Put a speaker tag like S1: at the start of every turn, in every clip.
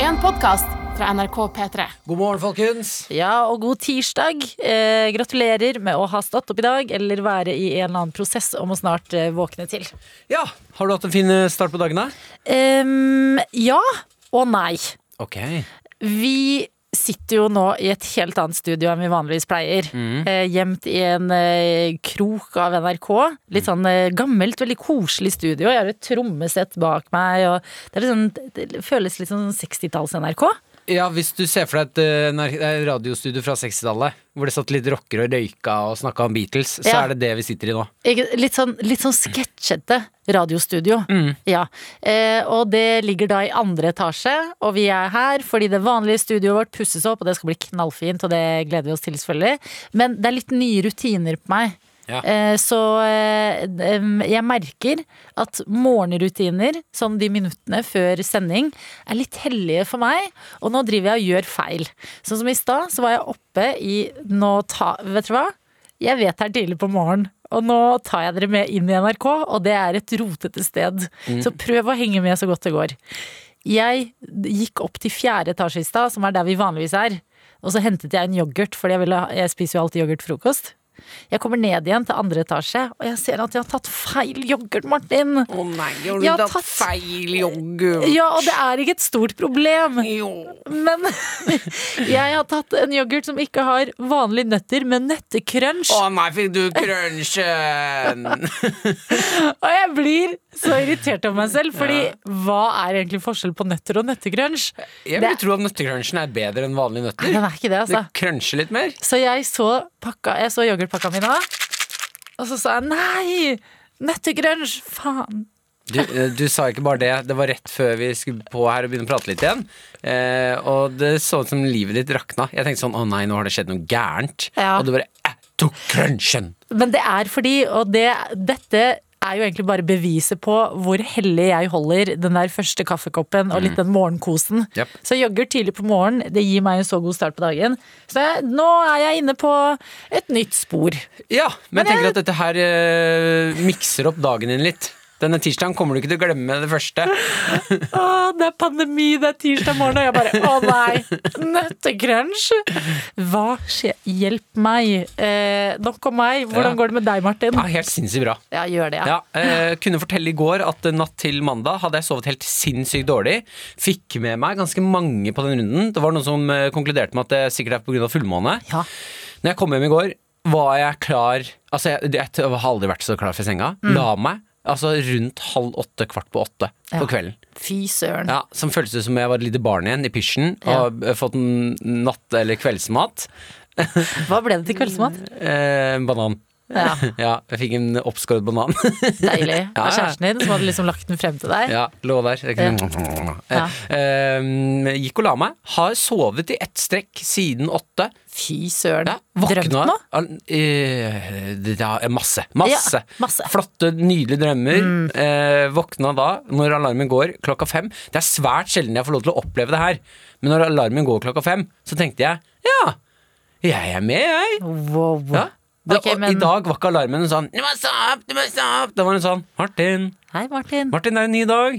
S1: en podkast fra NRK P3.
S2: God morgen, folkens.
S3: Ja, og god tirsdag. Eh, gratulerer med å ha stått opp i dag, eller være i en eller annen prosess om å snart eh, våkne til.
S2: Ja, Har du hatt en fin eh, start på dagen? da?
S3: Em, ja og nei.
S2: Ok.
S3: Vi sitter jo nå i et helt annet studio enn vi vanligvis pleier. Eh, gjemt i en eh, krok av NRK. Litt sånn eh, gammelt, veldig koselig studio. Jeg har et trommesett bak meg, og det, er litt sånn, det føles litt sånn 60-talls-NRK.
S2: Ja, Hvis du ser for deg et eh, nar- eh, radiostudio fra 60-tallet, hvor det satt litt rockere og røyka og snakka om Beatles, så
S3: Ja.
S2: er det det vi sitter i nå.
S3: Ikke- Litt sånn, litt sånn sketsjete radiostudio. Ja. Eh, og det ligger da i andre etasje, og vi er her fordi det vanlige studioet vårt pusses opp, og det skal bli knallfint, og det gleder vi oss til, selvfølgelig. Men det er litt nye rutiner på meg.
S2: Ja.
S3: Eh, så eh, em, jeg merker at morgenrutiner, sånn de minuttene før sending, er litt hellige for meg. Og nå driver jeg og gjør feil. Sånn som i stad, så var jeg oppe i Nå ta Vet du hva? Jeg vet det er tidlig på morgenen, og nå tar jeg dere med inn i NRK, og det er et rotete sted. Så prøv å henge med så godt det går. Jeg gikk opp til fjerde etasje i stad, som er der vi vanligvis er. Og så hentet jeg en yoghurt, for jeg, ville, ha- jeg spiser jo alltid yoghurt til frokost. Jeg kommer ned igjen til andre etasje, og jeg ser at jeg har tatt feil yoghurt, Martin.
S4: Å nei, har du
S3: Jeg har
S4: tatt
S3: tatt-
S4: feil yoghurt?
S3: Ja, og det er ikke et stort problem.
S4: Jo.
S3: Men jeg har tatt en yoghurt som ikke har vanlige nøtter, men nøttekrunch.
S4: Å nei, fikk du crunchen?
S3: Og jeg blir så irritert av meg selv, fordi hva er egentlig forskjell på nøtter og nøttekrunch?
S2: Jeg
S3: Det-
S2: vil tro at nøttekrunsjen er bedre enn vanlige
S3: Nei,
S2: nøtter.
S3: Den er ikke det,
S2: Det
S3: altså.
S2: crunsjer litt mer.
S3: Så jeg så, pakka, jeg så yoghurtpakka mi nå, og så sa jeg nei! Nøttekrunch! Faen.
S2: Du, eh, du sa ikke bare det, det var rett før vi skulle på her og begynne å prate litt igjen. Eh, og det så ut som livet ditt rakna. Jeg tenkte sånn å nei, nå har det skjedd noe gærent.
S3: Ja.
S2: Og du bare eh, tok crunchen.
S3: Men det er fordi, og det, dette er jo egentlig bare beviset på hvor hellig jeg holder den der første kaffekoppen og litt
S2: Mm.
S3: den morgenkosen.
S2: Japp.
S3: Så yoghurt tidlig på morgenen, det gir meg en så god start på dagen. Så jeg, nå er jeg inne på et nytt spor.
S2: Ja, men jeg
S3: Men
S2: tenker at dette her eh, mikser opp dagen din litt. Denne tirsdagen kommer du ikke til å glemme det første.
S3: Å, det er pandemi, det er tirsdag morgen, og jeg bare å nei, nøttekrunch! Hva skjer? Hjelp meg. Eh, nok om meg.
S2: Ja.
S3: Hvordan går det med deg, Martin?
S2: Ja, helt sinnssykt bra.
S3: Ja, gjør det, ja.
S2: Ja, eh, kunne fortelle i går at eh, natt til mandag hadde jeg sovet helt sinnssykt dårlig. Fikk med meg ganske mange på den runden. Det var noen som eh, konkluderte med at det sikkert er pga. fullmåne.
S3: Ja.
S2: Når jeg kom hjem i går, var jeg klar Altså, jeg, jeg har aldri vært så klar for senga.
S3: Mm.
S2: La meg altså rundt halv åtte, kvart på åtte
S3: Ja.
S2: på kvelden.
S3: Fy søren.
S2: Ja, Som føltes ut som jeg var et lite barn igjen i pysjen
S3: Ja.
S2: og eh, fått en natt- eller kveldsmat.
S3: Hva ble det til kveldsmat?
S2: Eh, en banan.
S3: Ja.
S2: Ja, jeg fikk en oppskåret banan.
S3: Deilig. Det
S2: Ja,
S3: var
S2: ja.
S3: kjæresten din som hadde liksom lagt den frem til deg.
S2: ja, lå der. Jeg kunne...
S3: Ja.
S2: Eh, eh, gikk og la meg. Har sovet i ett strekk siden åtte.
S3: Fy søren.
S2: Ja,
S3: Drømt
S2: våkna
S3: nå?
S2: al- eh, det- ja, masse. Masse.
S3: Ja, masse. Mm.
S2: Flotte, nydelige drømmer. Eh, våkna da, når alarmen går klokka fem. Det er svært sjelden jeg får lov til å oppleve det her, men når alarmen går klokka fem, så tenkte jeg ja, jeg er med, jeg.
S3: Wow.
S2: Ja. Det,
S3: Ok,
S2: og
S3: men-
S2: I dag var ikke alarmen en sånn 'du må stå opp', 'du må stå opp'. Da var den sånn 'Martin,
S3: Hei, Martin.
S2: Martin, det er en ny dag.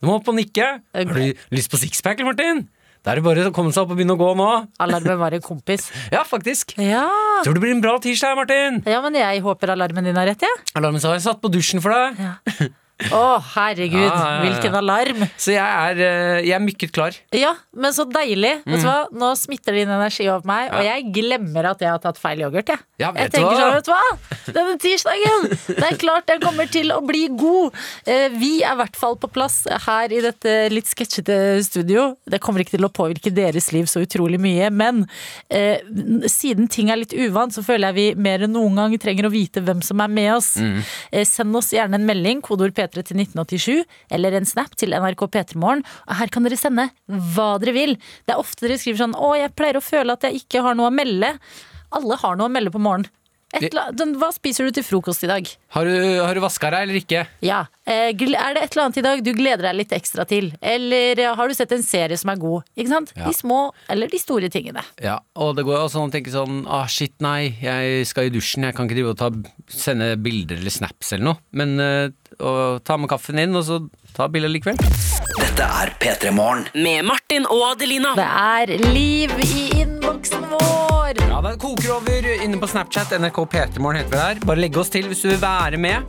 S2: Du må opp og nikke. Har du lyst på sixpack, eller, Martin? Da er det bare å komme seg opp og begynne å gå nå.
S3: Alarmen var en kompis.
S2: Ja, faktisk.
S3: Ja.
S2: Tror det blir en bra tirsdag, Martin.
S3: ja, men jeg håper alarmen din har rett, jeg.
S2: Alarmen sa jeg satt på dusjen for deg.
S3: Ja. Å, herregud.
S2: Ja, ja, ja.
S3: Hvilken alarm.
S2: Så jeg er, eh, jeg er mykket klar.
S3: Ja, men så deilig. Vet
S2: Mm.
S3: du hva? Nå smitter din energi over meg, og jeg glemmer at jeg har tatt feil yoghurt. Jeg,
S2: Ja,
S3: jeg
S2: vet du
S3: tenker
S2: hva?
S3: sånn, vet du hva? Denne tirsdagen! Det er klart jeg kommer til å bli god. Eh, Vi er i hvert fall på plass her i dette litt sketsjete studio. Det kommer ikke til å påvirke deres liv så utrolig mye, men eh, siden ting er litt uvant, så føler jeg vi mer enn noen gang trenger å vite hvem som er med oss. Eh, Send oss gjerne en melding, kodeord P3 til 1987, eller en snap til NRK P3morgen. Og her kan dere sende hva dere vil. Det er ofte dere skriver sånn 'Å, jeg pleier å føle at jeg ikke har noe å melde'. Alle har noe å melde på morgenen. Et, eller annet- sånn, hva spiser du til frokost i dag?
S2: Har du, har du vaska deg eller ikke?
S3: Ja, eh, gl- Er det et eller annet i dag du gleder deg litt ekstra til? Eller eh, har du sett en serie som er god? Ikke sant?
S2: Ja.
S3: De små eller de store tingene.
S2: Ja, og det går jo sånn å tenke sånn ah, shit, nei, jeg skal i dusjen, jeg kan ikke drive og ta, sende bilder eller snaps eller noe. Men eh, å ta med kaffen inn, og så ta bilder likevel.
S5: Dette er P3 Morgen.
S6: Med Martin og Adelina.
S3: Det er liv i innboksen vår!
S2: Ja, det koker over inne på Snapchat. NRK P3morgen heter vi der. Bare legg oss til hvis du vil være med.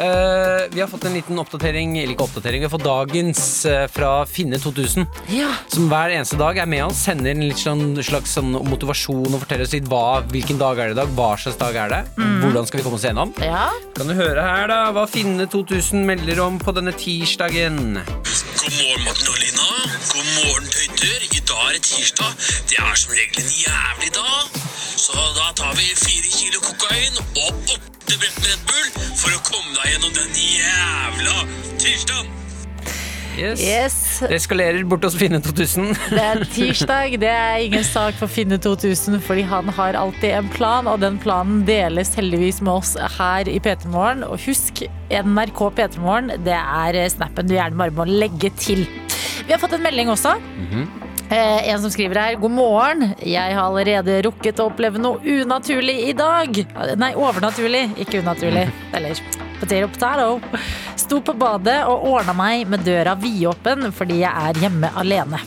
S2: Eh, vi har fått en liten oppdatering, eller ikke oppdatering, vi har fått dagens eh, fra Finne 2000.
S3: Ja.
S2: Som hver eneste dag er med oss, sender en litt sånn, slags sånn motivasjon og forteller oss litt hva, hvilken dag er det i dag, hva slags dag er det, hvordan skal vi komme oss gjennom.
S3: ja.
S2: Kan du høre her da, hva Finne 2000 melder om på denne tirsdagen?
S7: God morgen, Morten og Lina. God morgen, tøyter. I dag er det tirsdag. Det er som regel en jævlig dag. Så da tar vi fire kilo kokain og åtte brett med Red Bull for å komme deg gjennom den jævla tirsdagen.
S2: Yes.
S3: Yes.
S2: Det eskalerer bort hos Finne 2000.
S3: Det er tirsdag. Det er ingen sak for Finne 2000, fordi han har alltid en plan, og den planen deles heldigvis med oss her i P3 Morgen. Og husk, NRK P3 Morgen, det er snappen du gjerne bare må legge til. Vi har fått en melding også. Eh, En som skriver her God morgen, jeg har allerede rukket å oppleve noe unaturlig i dag Nei, overnaturlig, ikke unaturlig Eller potato potato Sto på badet og ordnet meg med døra vidåpen Fordi jeg er hjemme alene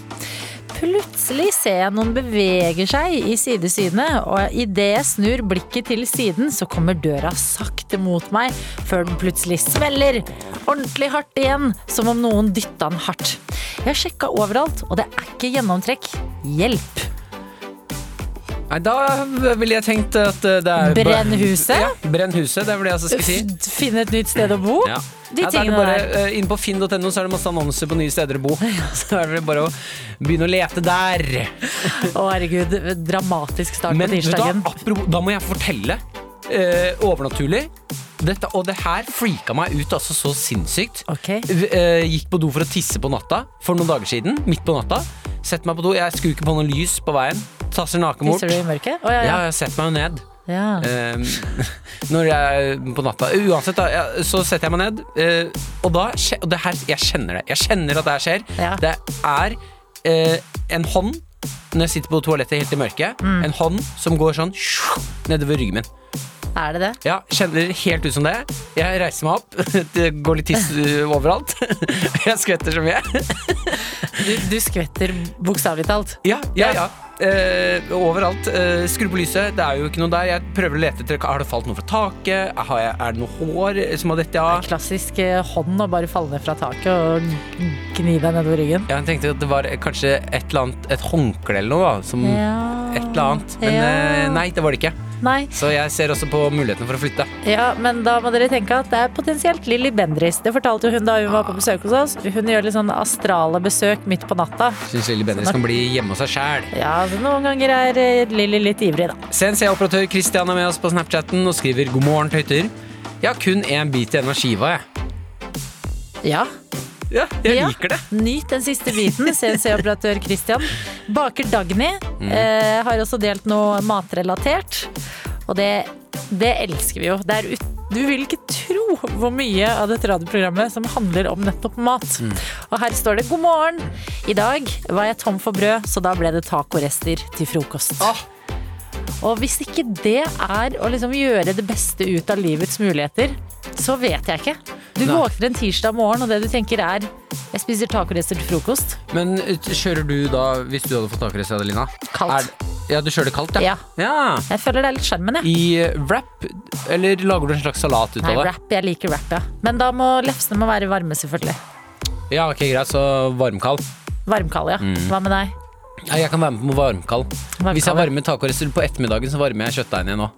S3: Plutselig ser jeg noen beveger seg i sidesynet Og i det jeg snur blikket til siden Så kommer døra sakte mot meg Før den plutselig smeller Ordentlig hardt igjen Som om noen dyttet den hardt Jeg sjekka overalt, og det er ikke gjennomtrekk Hjelp!
S2: Nei, da ville jeg tenkt at eh, det er
S3: Brenn huset?
S2: Ja, brenn huset, det er vel det jeg også skal si.
S3: F- Finne et nytt sted å bo.
S2: Ja. Ja, da er
S3: De
S2: det
S3: tingene
S2: bare,
S3: der.
S2: eh, Inne på finn.no så er det masse annonser på nye steder å bo. Så er det vel bare å begynne å lete der.
S3: Å herregud, dramatisk start
S2: Men
S3: på
S2: vet du hva?
S3: tirsdagen.
S2: apropos, da må jeg fortelle. eh, overnaturlig. Dette, og det her freaka meg ut altså så sinnssykt.
S3: Ok.
S2: Eh, gikk på do for å tisse på natta for noen dager siden. Midt på natta. Setter meg på do. Jeg skrur ikke på noe lys på veien. Tasser naken bort.
S3: Tisser du i mørket? Å, ja,
S2: Ja, jeg setter meg jo ned.
S3: ja. ja.
S2: Eh, når jeg på natta Uansett, da, ja, så setter jeg meg ned, eh, og da skje- og det her, Jeg kjenner det. Jeg kjenner at det her skjer.
S3: Ja.
S2: Det er eh, en hånd når jeg sitter på toalettet helt i mørket, en hånd som går sånn shoo, nedover ryggen min.
S3: Er det det?
S2: Ja, Kjenner helt ut som det. Jeg reiser meg opp, det går litt tiss eh, overalt. Jeg skvetter så mye.
S3: Du, du skvetter bokstavelig talt.
S2: Ja, ja, ja. Eh, overalt. Eh, skru på lyset. Det er jo ikke noe der. Jeg prøver å lete etter Har det falt noe fra taket. Har jeg, er det noe hår som har dette av?
S3: Klassisk eh, hånd å bare falle ned fra taket og gni deg nedover ryggen.
S2: Jeg tenkte at det var kanskje et eller annet Et håndkle eller noe. da, Som
S3: Ja.
S2: et eller annet. Men eh,
S3: Ja.
S2: nei, det var det ikke.
S3: Nei,
S2: Så jeg ser også på muligheten for å flytte.
S3: ja, men da må dere tenke at det er potensielt Lilly Bendriss. Det fortalte jo hun da hun var på besøk hos oss. Hun gjør litt sånn astrale besøk midt på natta.
S2: Syns Lilly Bendriss kan bli hjemme hos seg sjæl.
S3: Ja, så noen ganger er eh, Lilly litt ivrig, da.
S2: CNC-operatør Christian er med oss på Snapchatten og skriver 'God morgen, tøyter'. Jeg har kun én bit igjen av skiva, jeg.
S3: Ja,
S2: Ja, jeg
S3: Ja.
S2: liker det.
S3: Nyt den siste biten, CNC-operatør Christian. Baker Dagny
S2: Mm.
S3: eh, har også delt noe matrelatert. Og det, det elsker vi jo. Det er ut, du vil ikke tro hvor mye av dette radioprogrammet som handler om nettopp mat.
S2: Mm.
S3: Og her står det 'God morgen'. I dag var jeg tom for brød, så da ble det tacorester til frokost.
S2: Ah.
S3: Og hvis ikke det er å liksom gjøre det beste ut av livets muligheter, så vet jeg ikke. Du
S2: Nei.
S3: våkner en tirsdag morgen, og det du tenker er jeg spiser tacorester til frokost.
S2: Men eh, kjører du da, hvis du hadde fått takrest, Adelina?
S3: Kaldt.
S2: Er, ja, du kjører det kaldt, ja?
S3: Ja. Jeg føler det er litt skjermen, jeg.
S2: I eh, wrap, eller lager du en slags salat ut
S3: Nei,
S2: av det?
S3: wrap. Jeg liker wrap, ja. Men da må lefsene må være varme, selvfølgelig.
S2: Ja, ok, greit, så varmkald.
S3: Varmkald, ja.
S2: Mm.
S3: Hva med deg?
S2: Ja, jeg kan være med på varmkald.
S3: Varmkald,
S2: Hvis jeg
S3: ja.
S2: varmer takrester på ettermiddagen, så varmer jeg kjøttdeigen igjen nå.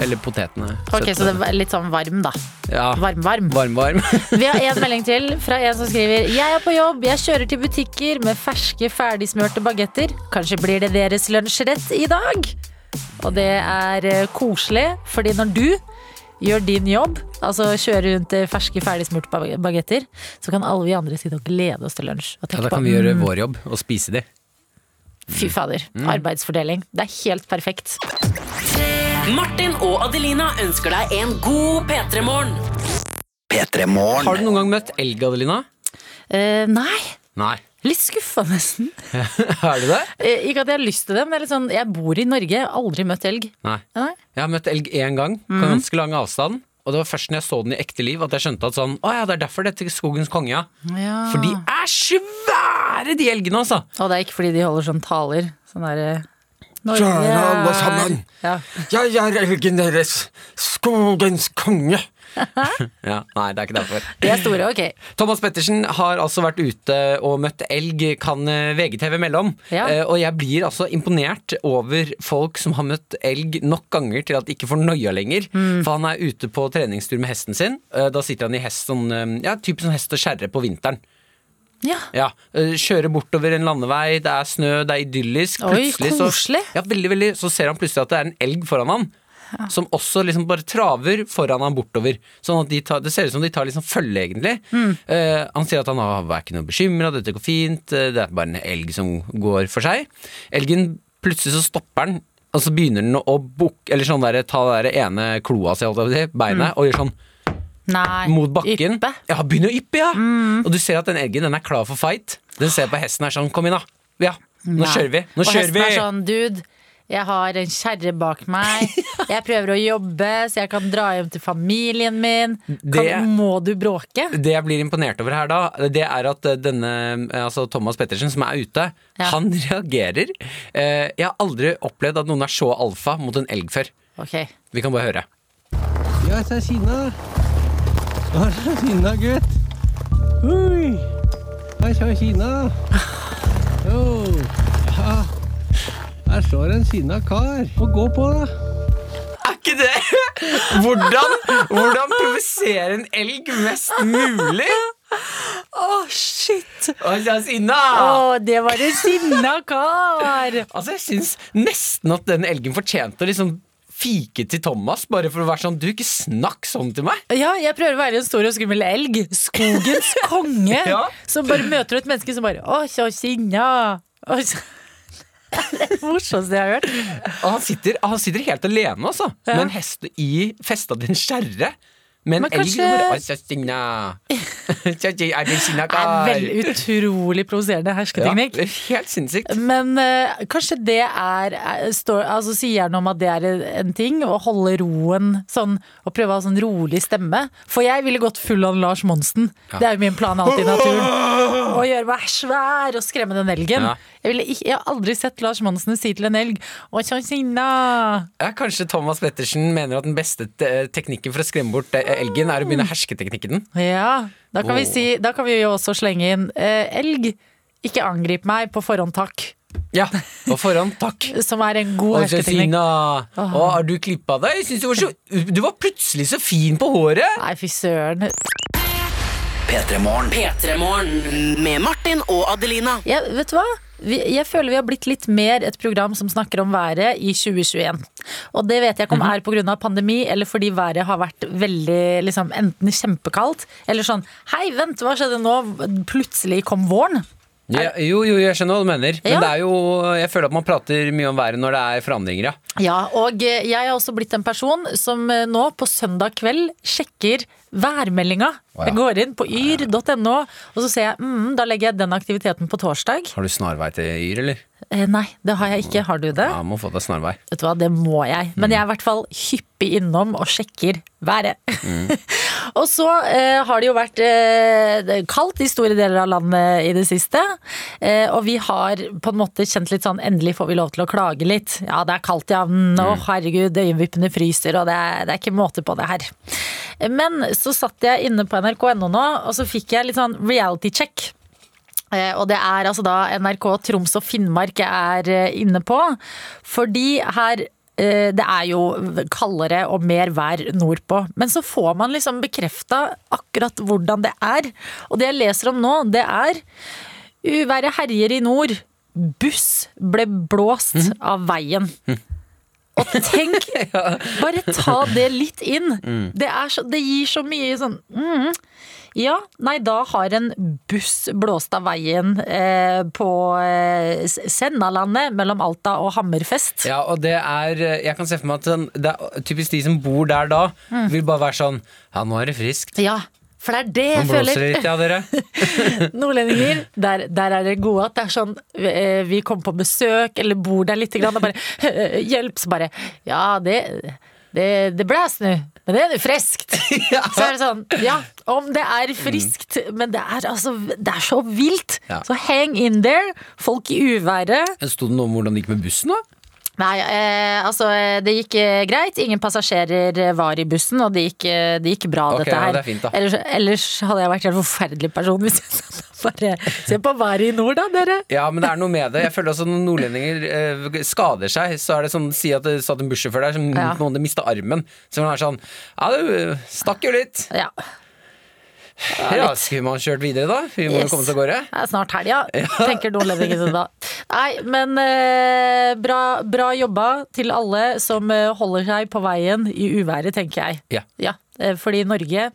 S2: Eller potetene.
S3: Ok,
S2: Søtene.
S3: Så det er litt sånn varm, da.
S2: ja.
S3: Varm-varm.
S2: Varm, varm.
S3: Vi har en melding til fra en som skriver Jeg er på jobb, jeg kjører til butikker med ferske, ferdigsmørte bagetter. Kanskje blir det deres lunsjrett i dag? Og det er eh, koselig, fordi når du gjør din jobb, altså kjører rundt eh, ferske, ferdigsmurte bag- bagetter, så kan alle vi andre sitte og glede oss til lunsj. Og
S2: Ja,
S3: tenke
S2: da kan
S3: på «Mm,
S2: vi gjøre Mm. vår jobb og spise de.
S3: fy fader, arbeidsfordeling. Det er helt perfekt.
S6: Martin og Adelina ønsker deg en god P3-morgen.
S5: P3
S2: Har
S5: Morgen.
S2: du noen gang møtt elg, Adelina?
S3: Eh, nei,
S2: Nei.
S3: litt skuffa nesten.
S2: Er du det?
S3: Eh, ikke at jeg har lyst til det, men det er litt sånn, jeg bor i Norge, jeg har aldri møtt elg.
S2: Nei.
S3: Nei. Mhm.
S2: Jeg har møtt elg én gang, på ganske lang avstand. Og det var først når jeg så den i ekte liv at jeg skjønte at sånn, å ja, det er derfor dette er Skogens konge, ja.
S3: Ja.
S2: For de er svære, de elgene, altså!
S3: Og det er ikke fordi de holder sånn taler. Sånn derre
S8: Kjære alle sammen.
S3: Ja.
S8: Jeg er elgen deres, skogens konge.
S2: Ja, nei, det er ikke derfor.
S3: De er store, ok.
S2: Thomas Pettersen har altså vært ute og møtt elg, kan eh, VGTV melde om.
S3: Ja.
S2: Eh, Og jeg blir altså imponert over folk som har møtt elg nok ganger til at de ikke får noia lenger. For han er ute på treningstur med hesten sin. Eh, Da sitter han i hest sånn, eh, ja, typisk sånn hest og kjerre på vinteren.
S3: Ja.
S2: Ja, øh, Kjøre bortover en landevei, det er snø, det er idyllisk.
S3: Oi,
S2: Plutselig
S3: koselig.
S2: Så, ja, veldig, veldig, så ser han plutselig at det er en elg foran han. Som også liksom bare traver foran han bortover. Sånn at de tar, Det ser ut som de tar liksom følge, egentlig.
S3: Mm.
S2: Eh, han sier at han ah, er ikke noe bekymra, dette går fint, eh, det er bare en elg som går for seg. Elgen plutselig så stopper den, og så begynner den å bukke Eller sånn der, ta det der ene kloa si, holdt jeg på å si,
S3: Mm.
S2: beinet, og gjør sånn
S3: Nei.
S2: mot bakken.
S3: Yppe. Mm.
S2: Ja, begynner å yppe, ja. Og du ser at den elgen den er klar for fight. Den ser på hesten er sånn, kom inn da. Ja, nå
S3: Nei.
S2: kjører vi. Nå
S3: og
S2: kjører vi.
S3: hesten er sånn, dude, jeg har en kjerre bak meg. Jeg prøver å jobbe, så jeg kan dra hjem til familien min.
S2: Det-
S3: Kan, må du bråke?
S2: Det jeg blir imponert over her da, det er at eh, denne, eh, altså Thomas Pettersen som er ute,
S3: Ja.
S2: han reagerer. Eh, Jeg har aldri opplevd at noen er så alfa mot en elg før.
S3: Ok.
S2: Vi kan bare høre.
S9: Ja, så er sinna. Så er så sinna, gutt. Ui. Her så sinna. Jo. Ja. Her står en sinna kar. Må gå på, da.
S2: Er ikke det? Hvordan, hvordan provosere en elg mest mulig?
S3: Å, shit!
S2: Altså, Sinna!
S3: Å, det var en sinna kar!
S2: Altså, jeg syns nesten at den elgen fortjente å liksom fike til Thomas, bare for å være sånn Du, ikke snakk sånn til meg!
S3: Ja, jeg prøver å være en stor og skummel elg. Skogens konge.
S2: Ja.
S3: Som bare møter et menneske som bare Å, så sinna! Å, så- Det er det morsomste jeg har hørt.
S2: Og han sitter, han sitter helt alene, altså. Med en hest i festa til en skjerre. Med en
S3: Men
S2: elg
S3: kanskje-
S2: som bare, «Altså, Stina. Er du Stina,
S3: Det er
S2: kar?»
S3: vel utrolig provoserende hersketeknikk.
S2: Ja, helt sinnssykt.
S3: Men eh, kanskje det er er- står, altså, Sier han om at det er en- en ting? Å holde roen sånn, og prøve å ha sånn rolig stemme? For jeg ville gått full av Lars Monsen. Det er jo min plan alltid i naturen. Å gjøre meg svær og skremme den elgen.
S2: Ja.
S3: Jeg, ville ikke, jeg har aldri sett Lars Monsen si til en elg Å, tja, sinna!
S2: Ja, kanskje Thomas Pettersen mener at den beste te eh, teknikken for å skremme bort eh, elgen, er å begynne hersketeknikken.
S3: Ja, da kan, vi
S2: Åh.
S3: si, da kan vi jo også slenge inn eh, elg. Ikke angrip meg på forhånd, takk.
S2: Ja, på forhånd, takk.
S3: Som er en god
S2: Og
S3: hersketeknikk.
S2: Josefina, å, har du klippa deg? Jeg synes du, var så, du var plutselig så fin på håret!
S3: Nei, fy søren.
S5: P3morgen.
S6: P3morgen med Martin og Adelina.
S3: Jeg, vet du hva? Vi, jeg føler vi har blitt litt mer et program som snakker om været i 2021. Og det vet jeg ikke om er på grunn er pga. pandemi, eller fordi været har vært veldig liksom, enten kjempekaldt, eller sånn Hei, vent, hva skjedde nå? Plutselig kom våren.
S2: Ja, jo, jo, jeg skjønner hva du mener. Men
S3: Ja.
S2: det er jo, jeg føler at man prater mye om været når det er forandringer, ja.
S3: Ja, og eh, jeg er også blitt en person som eh, nå på søndag kveld sjekker værmeldinga. Jeg går inn på yr.no, og så ser jeg mm, da legger jeg den aktiviteten på torsdag.
S2: Har du snarvei til Yr, eller?
S3: Eh, nei, det har jeg ikke. Har du det?
S2: Ja, må få deg snarvei.
S3: Vet du hva, det må jeg. Men jeg er i hvert fall hyppig innom og sjekker været. og så eh, har det jo vært eh, det er kaldt i store deler av landet i det siste. Eh, og vi har på en måte kjent litt sånn endelig får vi lov til å klage litt. Ja, det er kaldt i havnen, å herregud, øyenvippene fryser, og det er, det er ikke måte på det her. Men så satt jeg inne på nrk.no nå, og så fikk jeg litt sånn reality check. Eh, Og det er altså da NRK Troms og Finnmark jeg er eh, inne på. Fordi her eh, det er jo kaldere og mer vær nordpå. Men så får man liksom bekrefta akkurat hvordan det er. Og det jeg leser om nå, det er uværet herjer i nord. Buss ble blåst av veien. Og tenk, bare ta det litt inn. Det, er så, det gir så mye sånn mm. Ja, nei, da har en buss blåst av veien eh, på eh, S- Sennalandet mellom Alta og Hammerfest.
S2: Ja, og det er eh, Jeg kan se for meg at den- det er typisk de som bor der da, vil bare være sånn Ja, nå er det friskt.
S3: Ja, for det er det
S2: Nå
S3: jeg
S2: blåser
S3: føler.
S2: det litt, ja, dere.
S3: Nordlendinger, der, der er det gode at det er sånn eh, Vi kommer på besøk, eller eh, bor der litt, grann, og bare Hjelp! Så bare Ja, det, det, det blæs nå. Men det er jo friskt! Så er det sånn, ja, om det er friskt, men det er altså Det er så vilt!
S2: Ja.
S3: Så hang in there. Folk i uværet.
S2: Sto det noe om hvordan det gikk med bussen, da?
S3: Nei, eh, altså eh, det gikk eh, greit. Ingen passasjerer eh, var i bussen, og det gikk, eh, det gikk bra,
S2: Ok,
S3: dette
S2: ja,
S3: her.
S2: det er fint, da.
S3: Ellers, ellers hadde jeg vært en forferdelig person hvis jeg satt og bare Se på været i nord, da, dere!
S2: Ja, men det er noe med det. Jeg føler også Når nordlendinger eh, skader seg, så er det sånn Si at det satt en bussjåfør der som
S3: Ja.
S2: noen hadde mista armen. Så hun er sånn Ja, du stakk jo litt.
S3: Ja.
S2: Ja, skulle man kjørt videre, da? Vi må jo
S3: Yes.
S2: komme oss av gårde.
S3: Det er snart helg, ja. Tenker nordlendingene da. Nei, men eh, bra, bra jobba til alle som eh, holder seg på veien i uværet, tenker jeg.
S2: Ja.
S3: ja eh, fordi Norge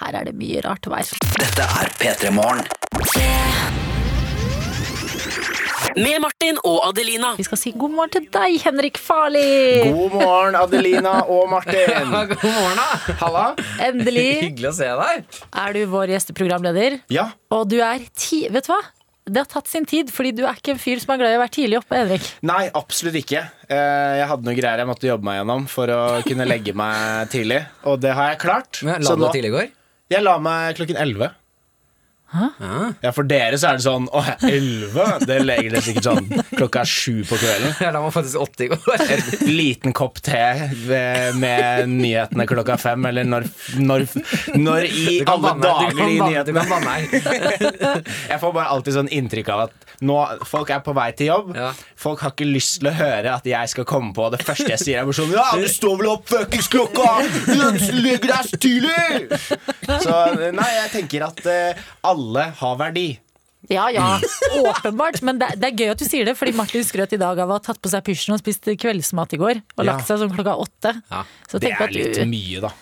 S3: her er det mye rart vær.
S5: Dette er P3 Morgen.
S6: Med Martin og Adelina.
S3: Vi skal si god morgen til deg, Henrik Farli!
S10: God morgen, Adelina og Martin.
S2: Ja, god morgen, da.
S10: Halla.
S3: Endelig
S2: Hyggelig å se deg.
S3: er du vår gjesteprogramleder.
S10: Ja,
S3: Og du er ti... Vet du hva? Det har tatt sin tid, fordi du er ikke en fyr som er glad i å være tidlig oppe, Henrik.
S10: Nei, absolutt ikke. Eh, Jeg hadde noe greier jeg måtte jobbe meg gjennom for å kunne legge meg tidlig, og det har jeg klart.
S2: Men
S10: Så
S2: La du
S10: nå-
S2: deg tidlig i går?
S10: Jeg la meg klokken 11.
S2: Ja.
S10: Ja, For dere så er det sånn Å, 11? Det legger dere sikkert sånn klokka sju på kvelden.
S2: Jeg la meg faktisk åtte i går.
S10: En liten kopp te ved- med nyhetene klokka fem, eller når, når, når i
S2: Du kan
S10: alle
S2: banne, du kan
S10: dager i
S2: banne, du
S10: nyhetene.
S2: kan banne her.
S10: Jeg får bare alltid sånn inntrykk av at nå, folk er på vei til jobb.
S2: Ja.
S10: Folk har ikke lyst til å høre at jeg skal komme på. Det første jeg sier, er bare sånn Ja, du står vel opp fuckings klokka! Legg deg så tidlig! Så nei, jeg tenker at eh, alle har verdi.
S3: Ja, ja, åpenbart. Men det, det er gøy at du sier det, fordi Martin skrøt i dag av å ha tatt på seg pysjen og spist kveldsmat i går. Og
S10: Ja.
S3: lagt seg sånn klokka åtte.
S2: Ja,
S3: Så
S10: Det
S3: tenk på
S10: er
S3: at
S10: litt
S3: du,
S10: mye, da.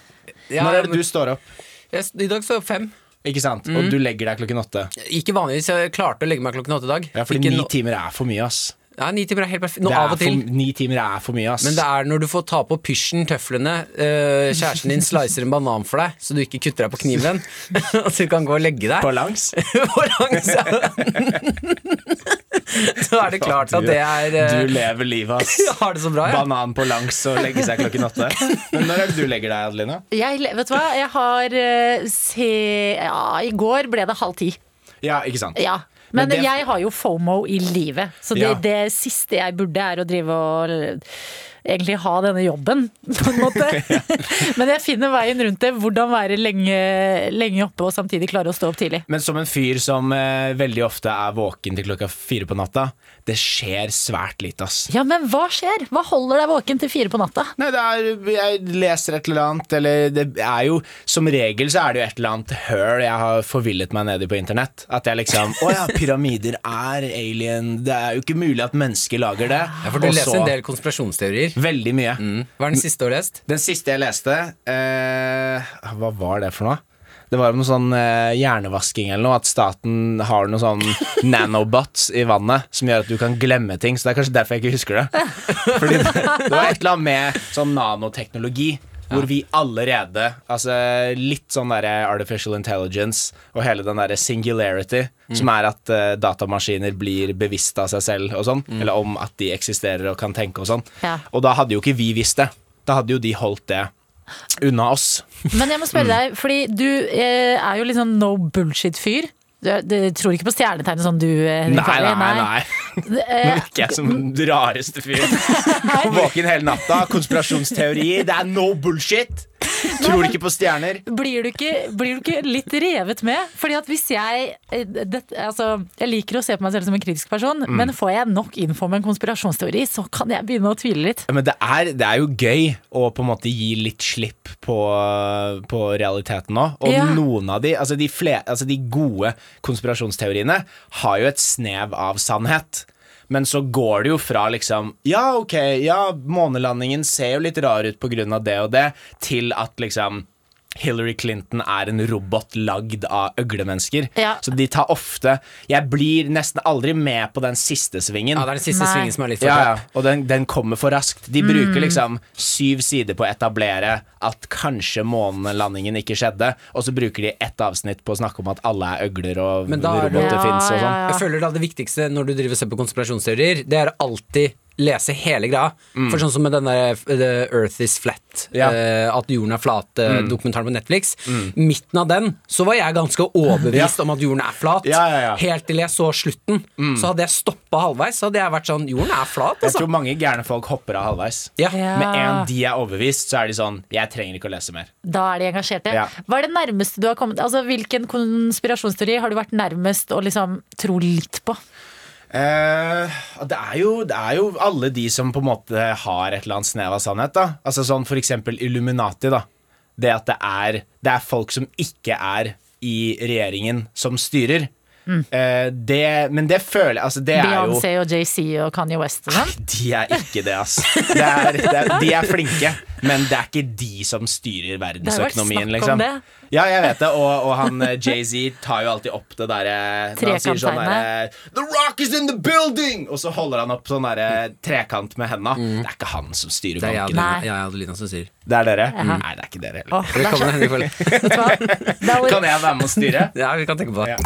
S2: Ja,
S10: Når er
S2: men- Mm.
S10: det du står opp?
S2: Jeg- I dag så fem.
S10: Ikke sant? Og du legger deg klokken åtte.
S2: Ikke vanligvis. Jeg klarte å legge meg klokken åtte i dag.
S10: Ja,
S2: Ikke
S10: fordi ni
S2: nå-
S10: timer er for mye, ass.
S2: Nei, ni timer er helt perfekt. Nå
S10: Det
S2: av
S10: er
S2: og til.
S10: for, ni timer er for mye, ass.
S2: Men det er når du får ta på pysjen, tøflene, øh, kjæresten din slicer en banan for deg, så du ikke kutter deg på kniven, og du kan gå og legge deg
S10: På langs.
S2: På langs, ja. Så er det klart at det er øh,
S10: Du lever livet, ass.
S2: Jeg har det så bra, ja.
S10: Banan på langs og legge seg klokken åtte. Men når er det du legger deg, Adelina?
S3: jeg, le- Vet du hva, jeg har eh, se... Ja, i går ble det halv ti.
S10: Ja, ikke sant?
S3: Ja. Men,
S10: Men det-
S3: jeg har jo FOMO i livet, så det,
S10: Ja.
S3: det siste jeg burde er å drive og egentlig ha denne jobben, på en måte. Men jeg finner veien rundt det. Hvordan være lenge, lenge oppe og samtidig klare å stå opp tidlig.
S10: Men som en fyr som eh, veldig ofte er våken til klokka fire på natta, det skjer svært lite, ass.
S3: Ja, men hva skjer? Hva holder deg våken til fire på natta?
S10: Nei, det er, jeg leser et eller annet, eller det er jo Som regel så er det jo et eller annet høl jeg har forvillet meg ned i på internett. At jeg liksom Å ja, pyramider er alien. Det er jo ikke mulig at mennesker lager det.
S2: Ja, for du
S10: Og
S2: leser
S10: så-
S2: en del konspirasjonsteorier. Mm.
S10: Veldig mye.
S2: Hva er den siste du har lest?
S10: Den siste jeg leste eh, Hva var det for noe? Det var om noe sånn eh, hjernevasking eller noe. At staten har noe sånn nanobots i vannet som gjør at du kan glemme ting. Så det er kanskje derfor jeg ikke husker det. Fordi det, det var et eller annet med sånn nanoteknologi. Hvor vi allerede Altså litt sånn derre artificial intelligence og hele den derre singularity, som er at eh, datamaskiner blir bevisste av seg selv og sånn, eller om at de eksisterer og kan tenke og sånn.
S3: Ja.
S10: Og da hadde jo ikke vi visst det. Da hadde jo de holdt det unna oss.
S3: Men jeg må
S10: Mm.
S3: spørre deg, fordi du eh, er jo litt sånn no bullshit-fyr. Du, er- du tror ikke på stjernetegnet sånn du eh, Henrik
S10: Nei,
S3: Farley?
S10: nei, nei. Nå
S3: Eh,
S10: virker jeg som den rareste fyren. Våken hele natta, konspirasjonsteorier, det er no bullshit. Tror ikke på stjerner.
S3: blir du, ikke, blir du ikke litt revet med? Fordi at hvis jeg eh, det, altså, Jeg liker å se på meg selv som en kritisk person,
S10: Mm.
S3: men får jeg nok info om en konspirasjonsteori, så kan jeg begynne å tvile litt.
S10: Ja, Men det er, det er jo gøy å på en måte gi litt slipp på, på realiteten nå. Og
S3: Ja.
S10: noen av de, altså de, fle, altså de gode konspirasjonsteoriene, har jo et snev av sannhet. Men så går det jo fra liksom Ja, ok, ja, månelandingen ser jo litt rar ut pga. det og det, til at liksom Hillary Clinton er en robot lagd av øglemennesker.
S3: Ja.
S10: Så de tar ofte Jeg blir nesten aldri med på den siste svingen.
S2: Ja, det er den siste
S3: Nei.
S2: svingen som er litt for
S10: Ja, ja.
S2: kjapp.
S10: Og den, den kommer for raskt. De
S3: Mm.
S10: bruker liksom syv sider på å etablere at kanskje månelandingen ikke skjedde, og så bruker de ett avsnitt på å snakke om at alle er øgler og
S2: Men da er det-
S10: roboter
S3: Ja,
S10: fins og
S3: ja,
S10: sånn.
S3: ja.
S2: Jeg føler da det viktigste når du driver og ser på konspirasjonsteorier, det er alltid lese hele greia. For sånn som med den der eh, The Earth is flat,
S10: Mm. Ja. Mm.
S2: eh, at jorden er flat-dokumentaren på Netflix. Midten av den så var jeg ganske overbevist om at jorden er flat.
S10: Ja, ja, ja.
S2: Helt til jeg så slutten. Så hadde jeg stoppa halvveis, så hadde jeg vært sånn Jorden er flat,
S10: Jeg
S2: altså.
S10: tror mange gærne folk hopper av halvveis.
S2: Ja.
S3: Ja.
S10: Med en de er overbevist, så er de sånn Jeg trenger ikke å lese mer.
S3: Da er de engasjerte.
S10: Ja.
S3: Hva er det nærmeste du har kommet Altså, Hvilken konspirasjonsteori har du vært nærmest å liksom tro litt på?
S10: Eh, det, er jo, det er jo alle de som på en måte har et eller annet snev av sannhet. da Altså sånn For eksempel Illuminati. da Det at det er, det er folk som ikke er i regjeringen, som styrer. Eh, det, men det føler jeg altså, Det er jo
S3: Beyoncé og JC og Kanye West og sånn?
S10: De er ikke det, ass. Det er, det er, de er flinke, men det er ikke de som styrer verdensøkonomien,
S3: Det har vært snakk om
S10: liksom.
S3: det.
S10: Ja, jeg vet det, og, og han eh, Jay-Z tar jo alltid opp det derre når han sier sånn derre
S3: Trekanttegnet.
S10: The rock is in the building! Og så holder han opp sånn derre trekant med henda. Mm. Det er ikke han som styrer
S2: Det er jeg,
S10: bankene.
S3: Nei.
S2: jeg, jeg Adelina som sier.
S10: Det er dere? Nei, det er ikke dere heller.
S3: Åh, det er så-
S2: Velkommen, Henrik Folle.
S3: Vet du hva? Det er-
S10: Kan jeg være med og styre?
S2: Ja, vi kan tenke på det.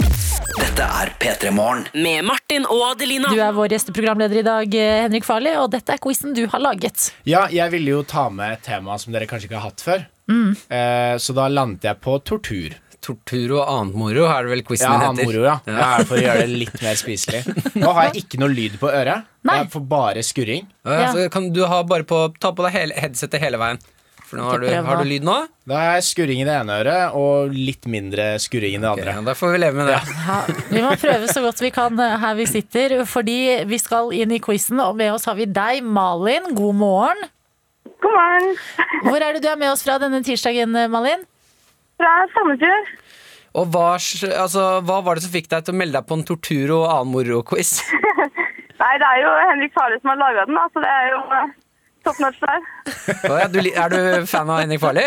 S5: Dette er P3 Morgen.
S6: Med Martin og Adelina.
S3: Du er vår gjesteprogramleder i dag, eh, Henrik Farley, og dette er quizen du har laget.
S10: Ja, jeg ville jo ta med et tema som dere kanskje ikke har hatt før.
S3: Mm.
S10: Eh, så da landet jeg på tortur.
S2: Tortur og annet moro er det vel quizen
S10: Ja,
S2: din
S10: han
S2: heter.
S10: moro, ja. ja. For å gjøre det litt mer spiselig. Nå har jeg ikke noe lyd på øret.
S3: Nei.
S10: Jeg får bare skurring.
S2: Ja,
S3: Ja.
S2: Så kan du ha bare på, ta på deg hele, headsetet hele veien. For nå har du,
S3: Ikke prøv
S2: har
S3: nå.
S2: du lyd nå?
S10: Da har jeg skurring i det ene øret og litt mindre skurring i det
S2: Ok,
S10: andre.
S2: ja, da får vi leve med det.
S3: Ja, vi må prøve så godt vi kan eh, her vi sitter, fordi vi skal inn i quizen, og med oss har vi deg, Malin. God morgen.
S11: God morgen.
S3: Hvor er det du er med oss fra denne tirsdagen, eh, Malin?
S11: Fra Sandefjord.
S2: Og hva, s- altså, hva var det som fikk deg til å melde deg på en tortur og annen moro-quiz?
S11: Nei, det er jo Henrik Farley som har laga den, da, så det er jo eh, top notch der.
S2: Å ja, du li- er du fan av Henrik Farli?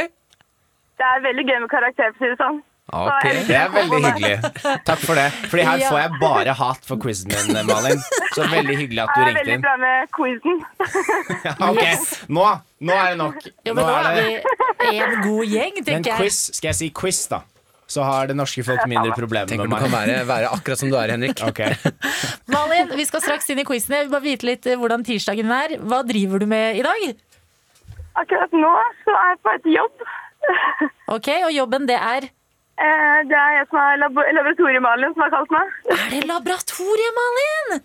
S11: Det er veldig gøy med karakter, for å si det sånn.
S2: Ok.
S10: Det er veldig hyggelig. Takk for det. Fordi her
S3: Ja.
S10: får jeg bare hat for quizen min, Malin. Så veldig hyggelig at
S11: Det
S10: du
S11: er
S10: ringte
S11: veldig
S10: inn.
S11: bra med quizen.
S10: Ja, ok, nå, nå er det nok.
S3: Jo, men
S10: Nå
S3: nå
S10: er det.
S3: er vi en god gjeng,
S10: Men
S3: tenker jeg.
S10: quiz, skal jeg si quiz, da? Så har det norske folk mindre problemer
S2: Tenker
S10: med
S2: du kan
S10: meg.
S2: være, være akkurat som du er, Henrik.
S10: Ok
S3: Malin, vi skal straks inn i quizen. Jeg vil bare vite litt eh, hvordan tirsdagen er. Hva driver du med i dag?
S11: Akkurat nå så er jeg på et jobb.
S3: Ok, og jobben det er
S11: Eh, Det er jeg som er labo laboratoriemaler, som har kalt meg.
S3: Er det laboratoriet, Malin?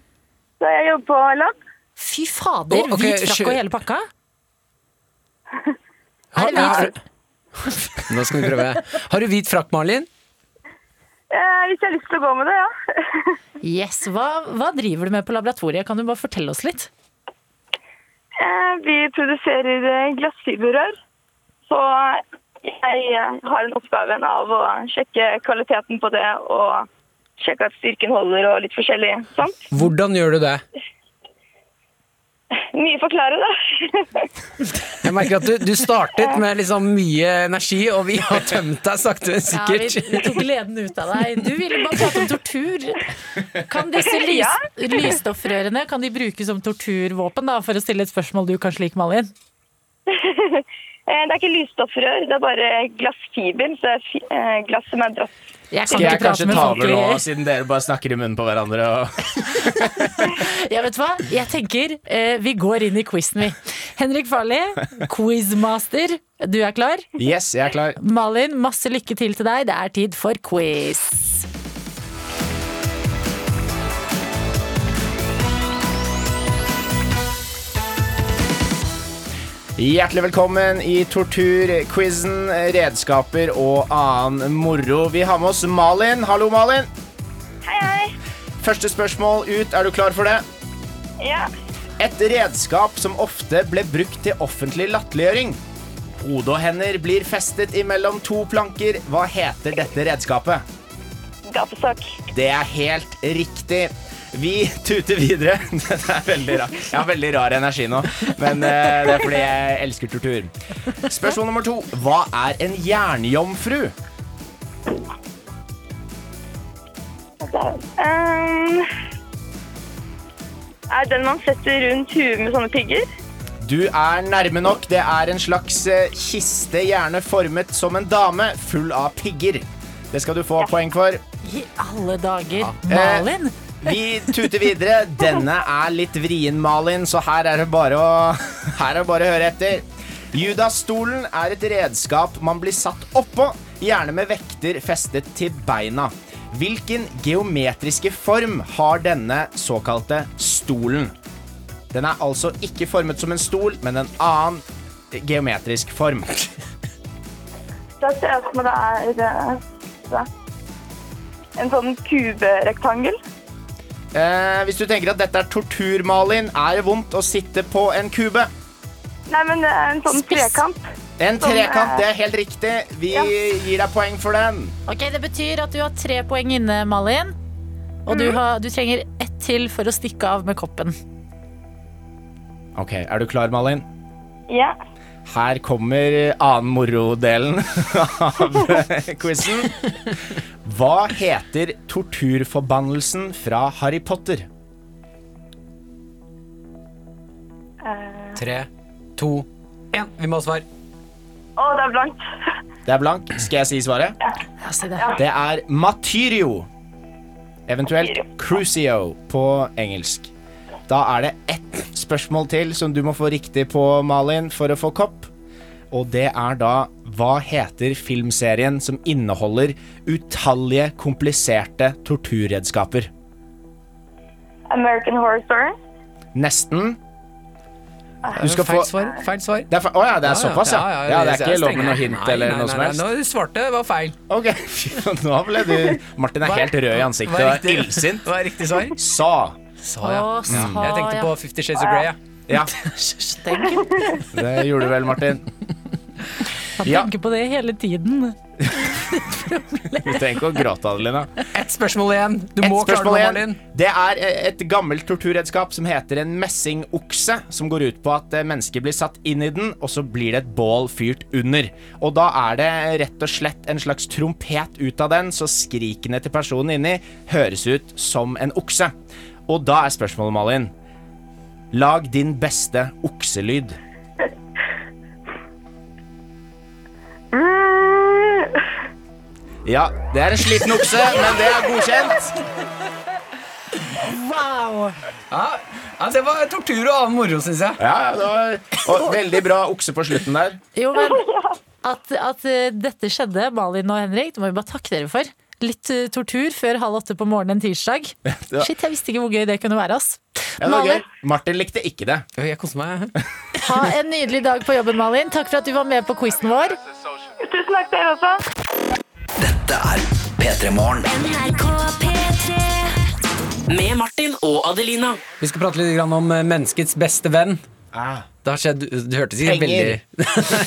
S11: Så jeg jobber på lab.
S3: Fy fader,
S2: Å, ok,
S3: hvit frakk
S2: skjø-
S3: og hele pakka?
S2: Har,
S3: Er det hvit
S2: er- nå skal vi prøve. Har du hvit frakk, Malin?
S11: Eh, Hvis jeg har lyst til å gå med det, ja.
S3: Yes, hva, hva driver du med på laboratoriet? Kan du bare fortelle oss litt?
S11: Eh, Vi produserer eh, glassfiberrør, så jeg eh, har en oppgave av å sjekke kvaliteten på det og sjekke at styrken holder og litt forskjellig sånt.
S2: Hvordan gjør du det?
S11: Mye å forklare, da. Eh,
S2: Jeg merker at du, du startet med liksom mye energi, og vi har tømt deg sakte, men
S3: Ja, vi,
S2: sikkert.
S3: vi tok gleden ut av deg. Du ville bare prate om tortur. Kan disse lys,
S11: Ja.
S3: lysstoffrørene kan de brukes som torturvåpen, da, for å stille et spørsmål du kanskje liker, Malin?
S11: Eh, Det er ikke lysstoffrør, det er bare glassfiber, så det er fi- eh, glass som er dratt.
S3: Jeg kan
S10: Skal jeg
S3: ikke prate
S10: kanskje
S3: med altså.
S10: ta
S3: folk
S10: over nå,
S3: lenger.
S10: siden dere bare snakker i munnen på hverandre? Og...
S3: Ja, vet du hva? Jeg tenker eh, vi går inn i quizen, vi. Henrik Farli, quizmaster. Du er klar?
S10: Yes, jeg er klar.
S3: Malin, masse lykke til til deg. Det er tid for quiz.
S10: Hjertelig velkommen i torturquizen, redskaper og annen moro. Vi har med oss Malin. Hallo, Malin.
S11: Hei, hei.
S10: Første spørsmål ut. Er du klar for det?
S11: Ja.
S10: Et redskap som ofte ble brukt til offentlig latterliggjøring. Hode og hender blir festet imellom to planker. Hva heter dette redskapet?
S11: Gapestokk.
S10: Det er helt riktig. Vi tuter videre. Dette er veldig rar. Jeg har veldig rar energi nå, men eh, det er fordi jeg elsker tortur. Spørsmål nummer to. Hva er en jernjomfru?
S11: Um, er den man setter rundt huet med sånne pigger?
S10: Du er nærme nok. Det er en slags eh, kiste, gjerne formet som en dame, full av pigger. Det skal du få poeng for.
S3: I alle dager,
S10: Eh,
S3: Malin!
S10: Vi tuter videre. Denne er litt vrien, Malin, så her er det bare å, her er det bare å høre etter. Judas-stolen er et redskap man blir satt oppå, gjerne med vekter festet til beina. Hvilken geometriske form har denne såkalte stolen? Den er altså ikke formet som en stol, men en annen geometrisk form.
S11: Da ser jeg for meg det er eh, en sånn kuberektangel.
S10: Eh, hvis du tenker at dette er tortur, Malin, er det vondt å sitte på en kube?
S11: Nei, men det er en sånn trekant.
S10: En
S11: Som,
S10: trekant,
S11: eh,
S10: det er helt riktig. Vi
S11: ja.
S10: gir deg poeng for den.
S3: Ok, Det betyr at du har tre poeng inne, Malin. Og du, har, du trenger ett til for å stikke av med koppen.
S10: Ok, Er du klar, Malin?
S11: Ja.
S10: Her kommer annen moro-delen av quizen. Hva heter torturforbannelsen fra Harry Potter?
S2: Tre, to, én. Vi må ha svar.
S11: Å, det er blankt.
S10: Det er blank. Skal jeg si svaret?
S3: Ja, si det.
S10: Det er Matyrio. Eventuelt Crucio på engelsk. Da er det ett spørsmål til som du må få riktig på, Malin, for å få kopp. Og det er da hva heter filmserien som inneholder utallige kompliserte torturredskaper?
S11: American Horror Story.
S10: Nesten. Du skal få
S2: Feil svar. Feil svar.
S10: Det er fe- Å ja, det er såpass, ja. Ja, Det er ikke lov med noe hint
S2: Nei,
S10: eller
S2: nei, nei,
S10: noe som
S2: nei,
S10: helst.
S2: Nå du svarte, var feil.
S10: Ok, fy faen, nå ble du Martin er
S2: Hva-
S10: helt rød i ansiktet
S2: hva er
S10: og
S2: riktig-
S10: er illsint.
S2: hva er riktig svar?
S10: Sa.
S2: Sa ja.
S10: Å, sa,
S2: Mm. Jeg tenkte
S10: ja.
S2: på Fifty Shades of Grey, jeg.
S10: Ja,
S3: Tenk.
S10: det gjorde du vel, Martin.
S3: Jeg
S10: Ja.
S3: tenker på det hele tiden.
S10: Du trenger ikke å gråte, Adelina.
S2: Ett spørsmål igjen. Du
S10: Et
S2: må klare det,
S10: spørsmål igjen.
S2: Malin.
S10: Det er eh, et gammelt torturredskap som heter en messingokse, som går ut på at eh, mennesker blir satt inn i den, og så blir det et bål fyrt under. Og da er det rett og slett en slags trompet ut av den, så skrikene til personen inni høres ut som en okse. Og da er spørsmålet, Malin, lag din beste okselyd. Ja, det er en sliten okse, men det er godkjent.
S3: Wow!
S2: Ja, altså, det var tortur og annen moro, syns jeg.
S10: Ja, ja, det var og Veldig bra okse på slutten der.
S3: Jo, men at, at eh, dette skjedde, Malin og Henrik, det må vi bare takke dere for. Litt eh, tortur før halv åtte på morgenen en tirsdag.
S10: var-
S3: Shit, jeg visste ikke hvor gøy det kunne være. ass.
S10: Ja, det var gøy.
S3: Malin,
S10: Martin likte ikke det.
S2: Jeg koser meg.
S3: ha en nydelig dag på jobben, Malin. Takk for at du var med på quizen vår.
S11: Tusen takk til dere også.
S5: Dette er P3 Morgen.
S6: NRK P3 Med Martin og Adelina.
S2: Vi skal prate litt grann om eh, menneskets beste venn.
S10: Ah.
S2: Det har skjedd Det hørtes ikke
S10: Penger.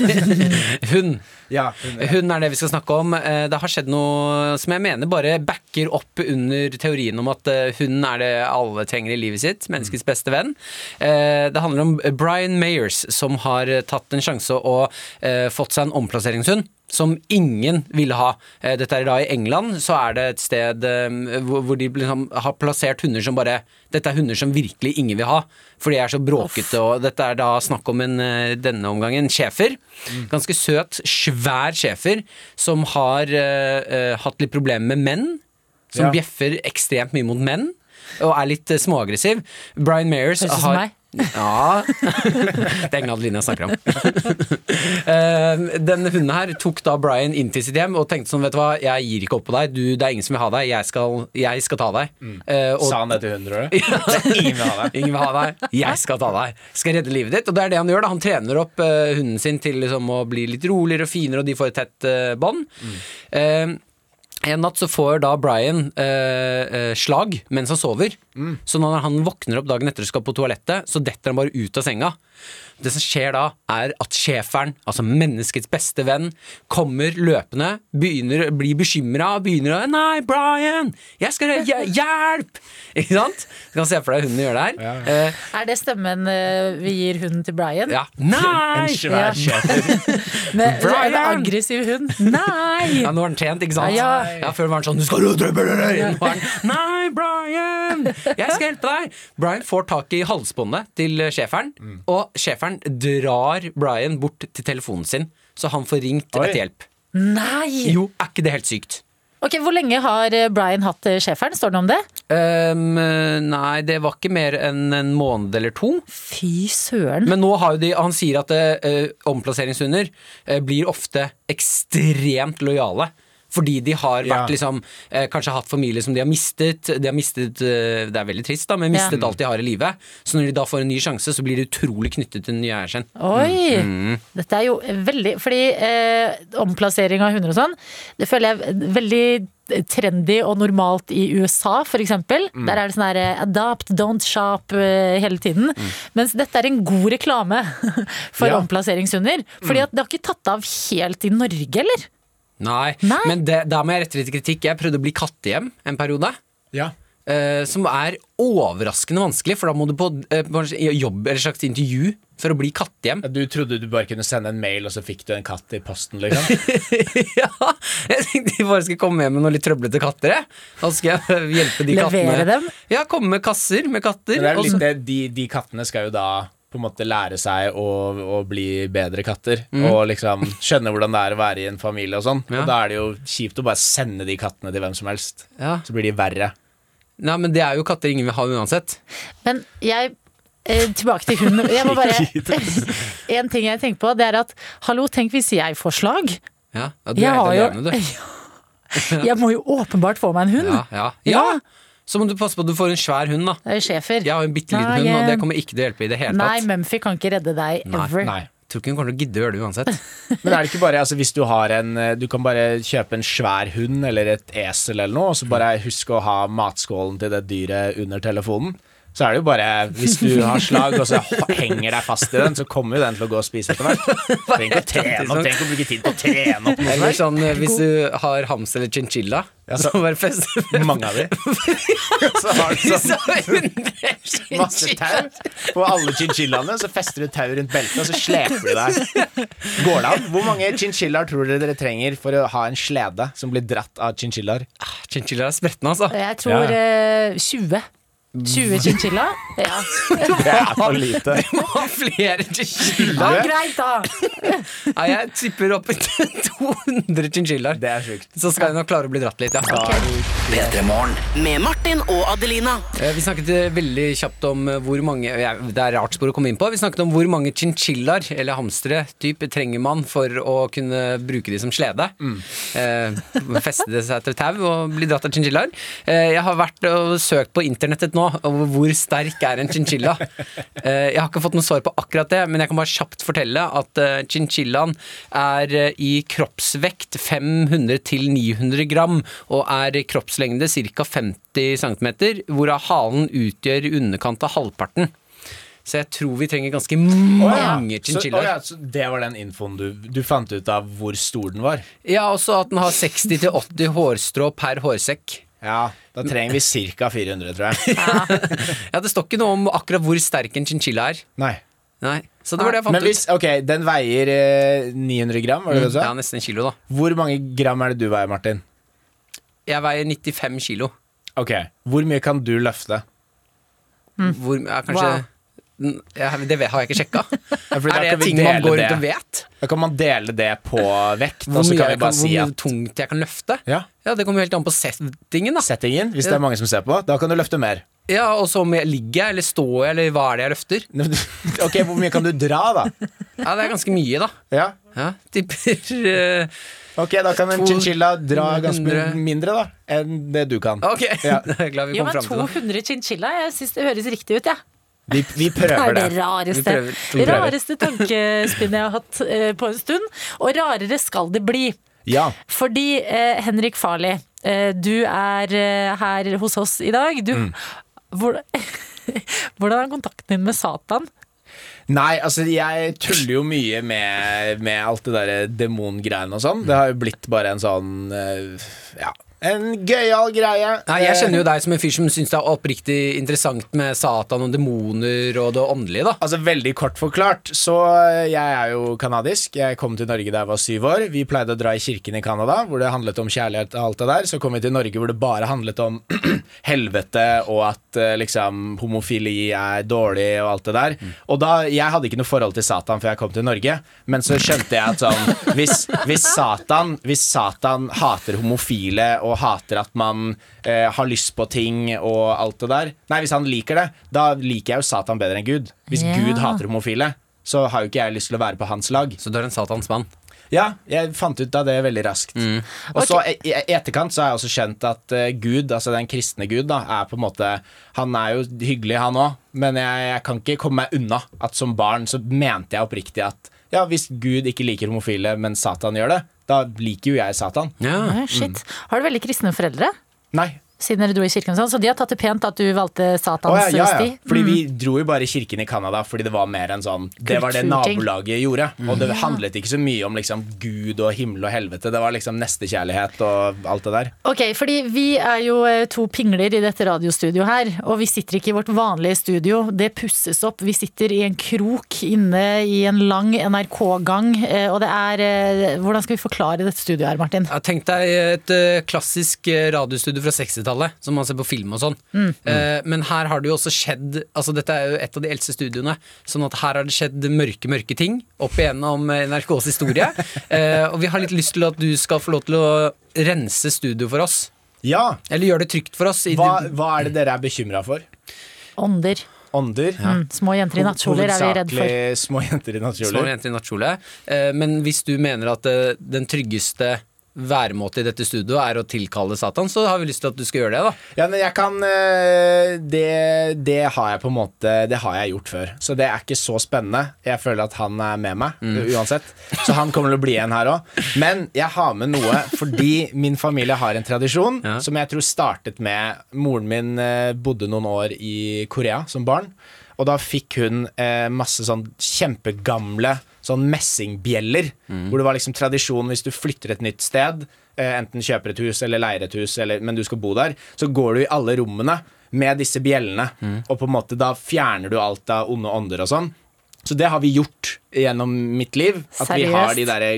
S2: veldig Hun.
S10: Ja,
S2: Hun er det vi skal snakke om. Eh, Det har skjedd noe som jeg mener bare backer opp under teorien om at eh, hun er det alle trenger i livet sitt. Menneskets beste venn. Eh, Det handler om Brian Mayers, som har eh, tatt en sjanse og eh, fått seg en omplasseringshund. Som ingen ville ha. Eh, Dette er da i England. Så er det et sted eh, hvor hvor de liksom har plassert hunder som bare Dette er hunder som virkelig ingen vil ha, for de er så bråkete. Og dette er da snakk om en, eh, denne omgangen, schæfer.
S3: Mm.
S2: Ganske søt, svær schæfer som har eh, eh, hatt litt problemer med menn. Som
S10: Ja.
S2: bjeffer ekstremt mye mot menn, og er litt eh, småaggressiv. Brian Mayers
S3: Høres ut som
S2: har
S3: meg.
S2: Ja. det er ingen Adelina jeg snakker om. Eh, Denne hunden her tok da Brian inn til sitt hjem og tenkte sånn, vet du hva, jeg gir ikke opp på deg. Du, det er ingen som vil ha deg. Jeg skal, jeg skal ta deg. Eh, og-
S10: Sa han det til hun, tror du? Det er ingen vil ha det.
S2: Ingen vil ha deg. Jeg skal ta deg. Skal redde livet ditt. Og det er det han gjør. da Han trener opp eh, hunden sin til liksom, å bli litt roligere og finere, og de får et tett eh, bånd. Eh, en natt så får da Brian eh, eh, slag mens han sover. Så når han våkner opp dagen etter og skal på toalettet, så detter han bare ut av senga. Det som skjer da, er at schæferen, altså menneskets beste venn, kommer løpende, begynner, blir bekymra, begynner å 'Nei, Brian! Jeg skal hj- Hjelp!' Ikke sant? Du kan se for deg hunden gjør det her. Eh,
S3: Er det stemmen eh, vi gir hunden til Brian?
S2: ja. Nei!
S3: Ja. Med,
S2: Brian!
S3: En aggressiv hund? Nei!
S2: Ja, nå har han trent, ikke sant?
S3: Ja.
S2: Ja, Før var han sånn 'Du skal jo drepe deg!» Nå er han 'Nei, Brian! Jeg skal hjelpe deg!' Brian får tak i halsbåndet til eh, schæferen, og schæferen drar Brian bort til telefonen sin, så han får ringt
S10: Oi.
S2: etter hjelp.
S3: Nei!
S2: Jo, er ikke det helt sykt?
S3: Ok, Hvor lenge har eh, Brian hatt eh, schæferen? Står det noe om det?
S2: Ehm, nei, det var ikke mer enn en måned eller to.
S3: Fy søren.
S2: Men nå har jo de Han sier at eh, omplasseringshunder eh, blir ofte ekstremt lojale. Fordi de har vært, liksom, eh, kanskje hatt familie som de har mistet. De har mistet eh, det er veldig trist, da, men mistet
S3: Ja.
S2: alt de har i livet. Så når de da får en ny sjanse, så blir de utrolig knyttet til den nye eieren sin.
S3: Oi!
S2: Mm.
S3: Dette er jo veldig Fordi eh, omplassering av hunder og sånn, det føler jeg er veldig eh, trendy og normalt i USA, for eksempel.
S12: Mm.
S3: Der er det sånn her eh, 'adopt, don't shop' eh, hele tiden. Mens dette er en god reklame for
S2: Ja.
S3: omplasseringshunder. Fordi at det har ikke tatt av helt i Norge, eller?
S2: Nei, men det, da må jeg rette litt kritikk. Jeg prøvde å bli kattehjem en periode. Eh, som er overraskende vanskelig, for da må du på, eh, på en slags jobb eller slags intervju for å bli kattehjem.
S10: Du trodde du bare kunne sende en mail, og så fikk du en katt i posten, liksom?
S2: Jeg tenkte jeg bare skulle komme hjem med noen litt trøblete katter. jeg. Da skal jeg hjelpe de
S10: Levere
S2: kattene.
S10: dem?
S2: Ja, komme med kasser med katter.
S10: Men det er
S2: og
S10: litt,
S2: så-
S10: det, de, de kattene skal jo da på en måte lære seg å, å bli bedre katter.
S2: Mm.
S10: Og liksom skjønne hvordan det er å være i en familie og sånn. Og da er det jo kjipt å bare sende de kattene til hvem som helst.
S2: Ja.
S10: Så blir de verre.
S2: Nei, men det er jo katter ingen vil ha uansett.
S3: Men jeg eh, Tilbake til hunden. Jeg må bare En ting jeg tenker på, det er at hallo, tenk hvis jeg får slag.
S2: Ja, ja du
S3: Jeg
S2: er
S3: har jo-
S2: helt alene, du.
S3: Jeg må jo åpenbart få meg en hund.
S2: Ja, ja. ja! Så må du passe på at du får en svær hund, da.
S3: Schæfer.
S2: Jeg har en bitte liten
S3: Nei,
S2: hund, og det
S3: eh,
S2: kommer ikke til å hjelpe i det hele
S3: Nei,
S2: tatt.
S3: Mumphy kan ikke redde deg ever.
S2: Tror ikke hun kommer til å gidde å gjøre det uansett.
S10: Men er det ikke bare, altså hvis du har en eh, Du kan bare kjøpe en svær hund eller et esel eller noe, og så bare husk å ha matskålen til det dyret under telefonen. Så er det jo bare Hvis du har slag og så h- henger deg fast i den, så kommer jo den til å gå og spise etter hvert. Trenger ikke å trene opp, trenger ikke å bruke tid på å trene opp noe
S2: Eller sånn
S10: sånt.
S2: eh, hvis du har hamster eller chinchilla, så bare fest
S10: Mange av de. Så har du sånn masse tau på alle chinchillaene, så fester du tau rundt beltet, og så sleper du deg. Går det an? Hvor mange chinchillaer tror dere dere trenger for å ha en slede som blir dratt av chinchillaer?
S2: Chinchillaer er spretne, altså.
S3: Jeg tror eh, 20. 20 chinchilla. Ja.
S10: Det er for lite.
S2: Du må ha flere
S3: ja,
S2: chinchillaer.
S3: greit, da!
S2: Nei, jeg tipper opp i 200 chinchillaer.
S10: Det er sjukt.
S2: Så skal jeg nok klare å bli dratt litt, ja.
S6: Med Martin og Adelina.
S2: Eh, Vi snakket eh, veldig kjapt om eh, hvor mange jeg- Det er rart spor å komme inn på. Vi snakket om hvor mange chinchillaer, eller hamstere, type, trenger man for å kunne bruke de som slede.
S10: Mm.
S2: Eh, feste det seg til tau og bli dratt av chinchillaer. Eh, jeg har vært og søkt på internettet nå over hvor sterk er en chinchilla. Eh, jeg har ikke fått noe svar på akkurat det, men jeg kan bare kjapt fortelle at eh, chinchillaen er eh, i kroppsvekt 500-900 gram og er i kroppslengde ca. 50 cm, hvorav halen utgjør i underkant av halvparten. Så jeg tror vi trenger ganske mange
S10: Så, å ja,
S2: chinchillaer.
S10: så det var den infoen du, du fant ut av hvor stor den var?
S2: Ja, også at den har 60-80 hårstrå per hårsekk.
S10: Ja, da trenger vi ca. 400, tror jeg.
S2: Ja, Det står ikke noe om akkurat hvor sterk en chinchilla er.
S10: Nei.
S2: Nei, Så det var det jeg fant
S10: Men hvis,
S2: ut.
S10: ok, Den veier eh, 900 gram, var det det du sa?
S2: Ja, nesten en kilo, da.
S10: Hvor mange gram er det du veier, Martin?
S2: Jeg veier 95 kilo.
S10: Ok, Hvor mye kan du løfte?
S2: Hvor, ja, kanskje
S10: Mm. Wow.
S2: N- ja, Det vet- har jeg ikke sjekka.
S10: Ja, fordi da
S2: er det
S10: kan vi
S2: ting man
S10: dele
S2: går
S10: det.
S2: rundt og vet?
S10: Da kan man dele det på vekt.
S2: Hvor
S10: og så
S2: mye,
S10: kan
S2: jeg kan,
S10: vi bare
S2: hvor
S10: si
S2: mye
S10: at
S2: tungt jeg kan løfte?
S10: Ja.
S2: Det kommer jo helt an på settingen. da
S10: Settingen, hvis det er mange som ser på, da kan du løfte mer.
S2: Ja, Og så om jeg ligger jeg, eller står jeg, eller hva er det jeg løfter?
S10: Ok, Hvor mye kan du dra, da?
S2: Ja, Det er ganske mye, da.
S10: Ja.
S2: Tipper eh,
S10: Ok, Da kan en
S2: To-
S10: chinchilla dra ganske mye
S2: 100.
S10: mindre da enn det du kan.
S2: Ok,
S10: Ja.
S2: det er glad vi
S3: Jo,
S2: kom
S3: men
S2: fram til det.
S3: 200 chinchilla, jeg syns det høres riktig ut, jeg. Ja.
S10: Vi, vi
S3: Det
S10: prøver
S3: er
S10: det.
S3: det rareste,
S10: Vi prøver.
S3: rareste tankespinnet jeg har hatt eh, på en stund. Og rarere skal det bli.
S10: Ja.
S3: Fordi eh, Henrik Farli, eh, du er eh, her hos oss i dag. Du,
S10: Mm.
S3: hvor, hvordan er kontakten din med Satan?
S10: Nei, altså jeg tuller jo mye med, med alt det der demongreiene og sånn. Det har jo blitt bare en sånn eh, Ja. En gøyal greie.
S2: Nei, Jeg kjenner jo deg som en fyr som syns det er oppriktig interessant med Satan og demoner og det åndelige. da
S10: Altså Veldig kort forklart, så eh, jeg er jo kanadisk. Jeg kom til Norge da jeg var syv år. Vi pleide å dra i kirken i Canada, hvor det handlet om kjærlighet og alt det der. Så kom vi til Norge hvor det bare handlet om helvete og at eh, liksom homofili er dårlig og alt det der. Og da, jeg hadde ikke noe forhold til Satan før jeg kom til Norge, men så skjønte jeg at sånn hvis, hvis, Satan, hvis Satan hater homofile og og hater at man eh, har lyst på ting og alt det der Nei, hvis han liker det, da liker jeg jo Satan bedre enn Gud. Hvis
S3: Ja.
S10: Gud hater homofile, så har jo ikke jeg lyst til å være på hans lag.
S2: Så du er en Satans mann?
S10: Ja, jeg fant ut av det veldig raskt. Og så i i etterkant så har jeg også skjønt at eh, Gud, altså den kristne Gud, da, er på en måte Han er jo hyggelig, han òg, men jeg, jeg kan ikke komme meg unna at som barn så mente jeg oppriktig at ja, hvis Gud ikke liker homofile, men Satan gjør det, da liker jo jeg Satan. mm.
S3: Å, shit. Har du veldig kristne foreldre?
S10: Nei.
S3: Siden dere dro i kirken og sånn, så de har tatt det pent at du valgte Satans
S10: Å, ja, ja, ja.
S3: sti?
S10: Fordi
S3: Mm.
S10: vi dro jo bare i kirken i Canada fordi det var mer en sånn Det var det
S3: Kulturting. Mm.
S10: nabolaget gjorde. Og det
S3: Ja.
S10: handlet ikke så mye om liksom Gud og himmel og helvete. Det var liksom nestekjærlighet og alt det der.
S3: Ok, fordi vi er jo eh, to pingler i dette radiostudioet her, og vi sitter ikke i vårt vanlige studio. Det pusses opp. Vi sitter i en krok inne i en lang NRK-gang, eh, og det er eh, Hvordan skal vi forklare dette studioet her, Martin?
S2: Ja, tenk deg et eh, klassisk eh, radiostudio fra 60-tallet, som man ser på film og sånn.
S3: Mm.
S2: Eh, men her har det jo også skjedd Altså Dette er jo et av de eldste studioene, sånn at her har det skjedd mørke, mørke ting opp igjennom eh, NRKs historie. Eh, og vi har litt lyst til at du skal få lov til å rense studio for oss.
S10: Ja
S2: Eller gjøre det trygt for oss.
S10: Hva, hva er det dere er bekymra for?
S3: Ånder.
S10: Ånder?
S3: Mm, små jenter i nattkjoler er vi redd for.
S10: Hovedsakelig små jenter i nattkjoler.
S2: Små jenter i nattkjole. Eh, men hvis du mener at eh, den tryggeste væremåte i dette studioet er å tilkalle Satan, så har vi lyst til at du skal gjøre det, da.
S10: Ja, men jeg kan eh, det, det har jeg på en måte Det har jeg gjort før. Så det er ikke så spennende. Jeg føler at han er med meg uansett. Så han kommer til å bli igjen her òg. Men jeg har med noe fordi min familie har en tradisjon som jeg tror startet med Moren min eh, bodde noen år i Korea som barn. Og da fikk hun eh, masse sånn kjempegamle sånn messingbjeller. Hvor det var liksom tradisjon hvis du flytter et nytt sted, eh, enten kjøper et hus eller leier et hus, eller, men du skal bo der, så går du i alle rommene med disse bjellene. Og på en måte da fjerner du alt av onde ånder og sånn. Så det har vi gjort gjennom mitt liv. At vi har
S12: Seriøst?
S10: de derre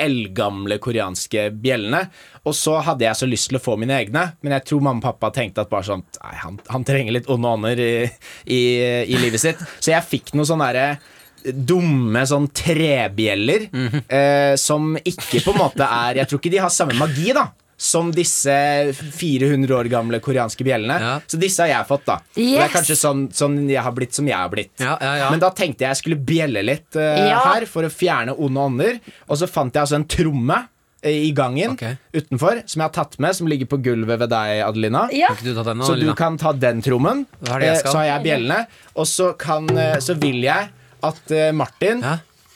S10: eldgamle koreanske bjellene. Og så hadde jeg så lyst til å få mine egne, men jeg tror mamma og pappa tenkte at bare sånn Nei, han, han trenger litt onde ånder i, i, i livet sitt. Så jeg fikk noen sånne derre dumme sånn trebjeller eh, som ikke på en måte er Jeg tror ikke de har samme magi, da. Som disse 400 år gamle koreanske bjellene. Så disse har jeg fått, da. Og Det er
S3: Yes!
S10: kanskje sånn, sånn jeg har blitt som jeg har blitt. Men da tenkte jeg jeg skulle bjelle litt eh,
S3: Ja.
S10: her for å fjerne onde ånder. Og så fant jeg altså en tromme eh, i gangen utenfor som jeg har tatt med, som ligger på gulvet ved deg, Adelina.
S3: Ja.
S2: Kan ikke du ta den nå,
S10: så du
S2: Adelina?
S10: kan ta den trommen.
S2: Hva er det jeg
S10: eh,
S2: skal?
S10: Så har jeg bjellene. Og så, kan, eh, så vil jeg at eh, Martin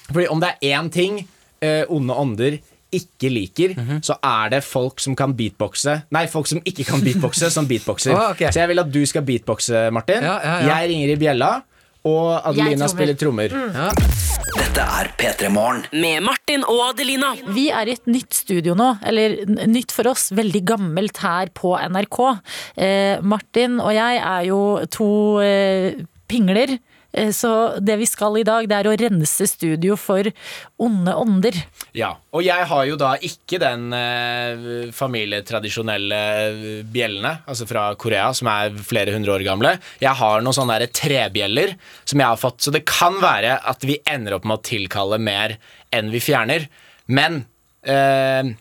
S10: Fordi om det er én ting eh, onde ånder ikke liker,
S2: Mhm.
S10: så er det folk som kan beatboxe Nei, folk som ikke kan beatboxe, som beatboxer.
S2: Ah, ok.
S10: Så jeg vil at du skal beatboxe, Martin.
S2: Ja, ja, ja.
S10: Jeg ringer i bjella, og Adelina
S6: trommer.
S10: spiller trommer.
S6: Mm.
S5: Dette er P3 Morgen.
S6: Med Martin og Adelina.
S3: Vi er i et nytt studio nå, eller n- nytt for oss, veldig gammelt her på NRK. Eh, Martin og jeg er jo to eh, pingler, eh, så det vi skal i dag, det er å rense studio for onde ånder.
S10: Ja, og jeg har jo da ikke den eh, familietradisjonelle eh, bjellene, altså fra Korea, som er flere hundre år gamle. Jeg har noen sånne der trebjeller som jeg har fått, så det kan være at vi ender opp med å tilkalle mer enn vi fjerner. Men eh,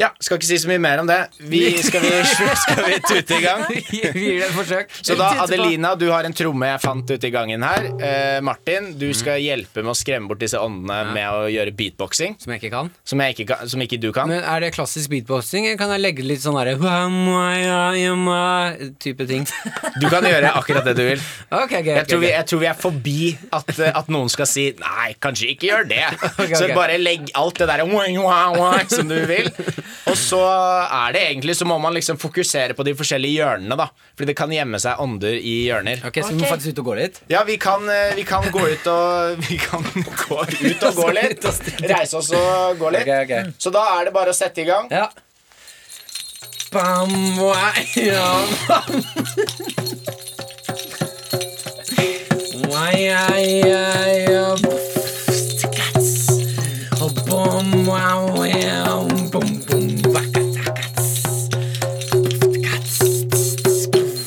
S10: ja, skal ikke si så mye mer om det. Vi, skal, vi, skal vi tute i gang?
S2: Vi gir det et forsøk.
S10: Så da,
S2: Vi tuter på.
S10: Adelina, du har en tromme jeg fant ute i gangen her. Eh, Martin, du skal hjelpe med å skremme bort disse åndene med å gjøre beatboxing.
S2: Som jeg ikke kan.
S10: Som, ikke, du kan.
S2: Men er det klassisk beatboxing? eller Kan jeg legge litt sånn derre Type ting.
S10: Du kan gjøre akkurat det du vil.
S2: Ok, ok,
S10: jeg,
S2: ok,
S10: tror vi,
S2: ok.
S10: jeg tror vi er forbi at, eh, at noen skal si 'nei, kanskje ikke gjør det'.
S2: Ok,
S10: Så
S2: ok.
S10: bare legg alt det der wah, wah, wah, som du vil. Og så er det egentlig så må man liksom fokusere på de forskjellige hjørnene, da. Fordi det kan gjemme seg ånder i hjørner.
S2: Ok, Så vi må faktisk ut og gå litt?
S10: Ja, vi kan, eh, vi kan gå ut og Vi kan gå ut og gå litt. Reise oss og gå litt. Så da er det bare å sette i gang.
S2: Bam, wah, ja, bam. Wah, ja, ja, ja. Stikats. Og bom, wah, wah, bom, bom, wah, katakats. Stikats.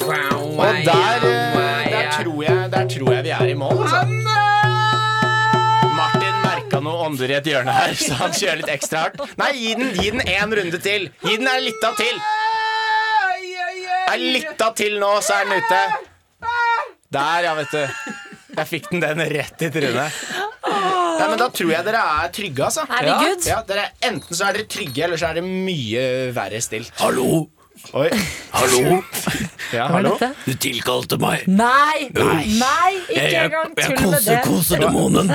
S2: Wow,
S10: Og der, eh, der, tror jeg, der tror jeg vi er i mål, altså. Martin merka noe ånder i et hjørne her, så han kjører litt ekstra hardt. Nei, gi den, gi den en runde til. Gi den en lita til. Jeg lytta til nå, så er den ute. Der, ja, vet du. Jeg fikk den den rett i trynet. Nei, men Da tror jeg dere er trygge, altså.
S3: Herregud.
S10: Ja, dere, enten så er dere trygge, eller så er det mye verre stilt.
S7: Hallo?
S10: Oi.
S7: Hallo?
S10: Ja, hallo?
S7: Du tilkalte meg.
S3: Nei!
S7: Nei.
S3: Nei, ikke
S7: Jeg-
S3: engang
S7: jeg
S3: tull med
S7: koser-
S3: det.
S7: koser demonen.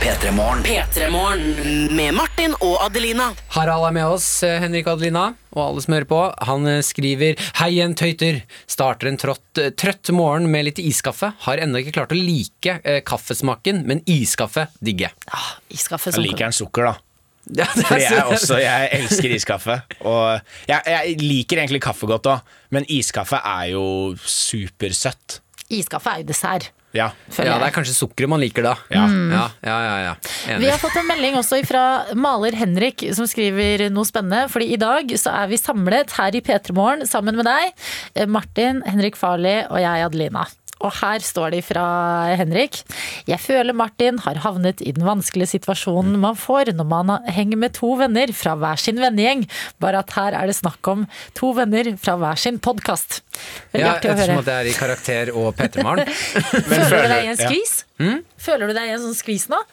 S5: P3morgen.
S6: P3morgen med Martin og Adelina.
S2: Harald er med oss, eh, Henrik og Adelina, og alle som hører på. Han eh, skriver Hei igjen, tøyter. Starter en trått, eh, trøtt morgen med litt iskaffe. Har ennå ikke klart å like eh, kaffesmaken, men iskaffe digger jeg.
S3: Iskaffe
S10: Jeg liker en sukker, da.
S2: Ja, det er
S10: Fordi jeg,
S2: så-
S10: også, jeg elsker iskaffe. Og jeg, jeg liker egentlig kaffe godt òg, men iskaffe er jo supersøtt.
S3: Iskaffe er jo dessert.
S10: Ja.
S3: Føler
S2: ja, det er
S3: jeg.
S2: kanskje sukkeret man liker da.
S10: Ja.
S2: ja, ja, ja, ja. Enig.
S3: Vi har fått en melding også fra maler Henrik, som skriver noe spennende. Fordi i dag så er vi samlet her i P3 Morgen sammen med deg, eh, Martin, Henrik Farli og jeg, Adelina. Og her står de fra Henrik. Jeg føler Martin har havnet i den vanskelige situasjonen man får når man henger med to venner fra hver sin vennegjeng, bare at her er det snakk om to venner fra hver sin podkast. Veldig
S2: ja,
S3: artig å
S2: ettersom
S3: høre.
S2: at det er i karakter og Petermaren.
S3: Føler du deg i en
S2: ja. Hmm?
S3: skvis? Føler du deg i en sånn skvis nå?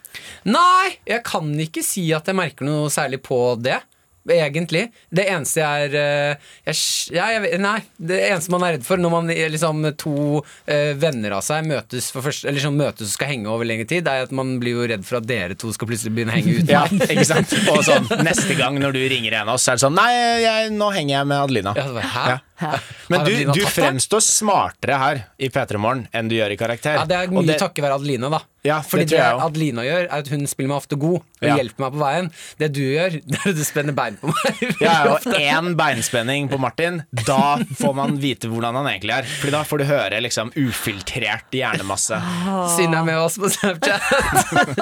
S2: Nei, jeg kan ikke si at jeg merker noe særlig på det. Egentlig. Det eneste jeg er eh, jeg, s- ja, jeg, vet- Nei. Det eneste man er redd for når man er liksom to eh, venner av seg møtes for første, eller sånn møtes og skal henge over lengre tid, er at man blir jo redd for at dere to skal plutselig begynne å henge ut.
S10: Ja, ikke sant? Og sånn, neste gang når du ringer en av oss, så er det sånn Nei, jeg, nå henger jeg med Adelina.
S2: Ja, det var, hæ?
S10: Ja. Men
S2: Har
S10: du,
S2: Adelina
S10: du
S2: tatt deg?
S10: fremstår smartere her i P3 Morgen enn du gjør i Karakter.
S2: Ja, det er
S10: Og
S2: mye takket være Adelina, da.
S10: Ja, for
S2: Fordi
S10: det
S2: det,
S10: tror jeg også.
S2: Adelina gjør, er at hun spiller meg ofte god og
S10: Ja.
S2: hjelper meg på veien. Det du gjør, det er at du spenner bein på meg.
S10: Ja, og én beinspenning på Martin, da får man vite hvordan han egentlig er. Fordi da får du høre liksom ufiltrert hjernemasse.
S2: Synne er med oss på Snapchat.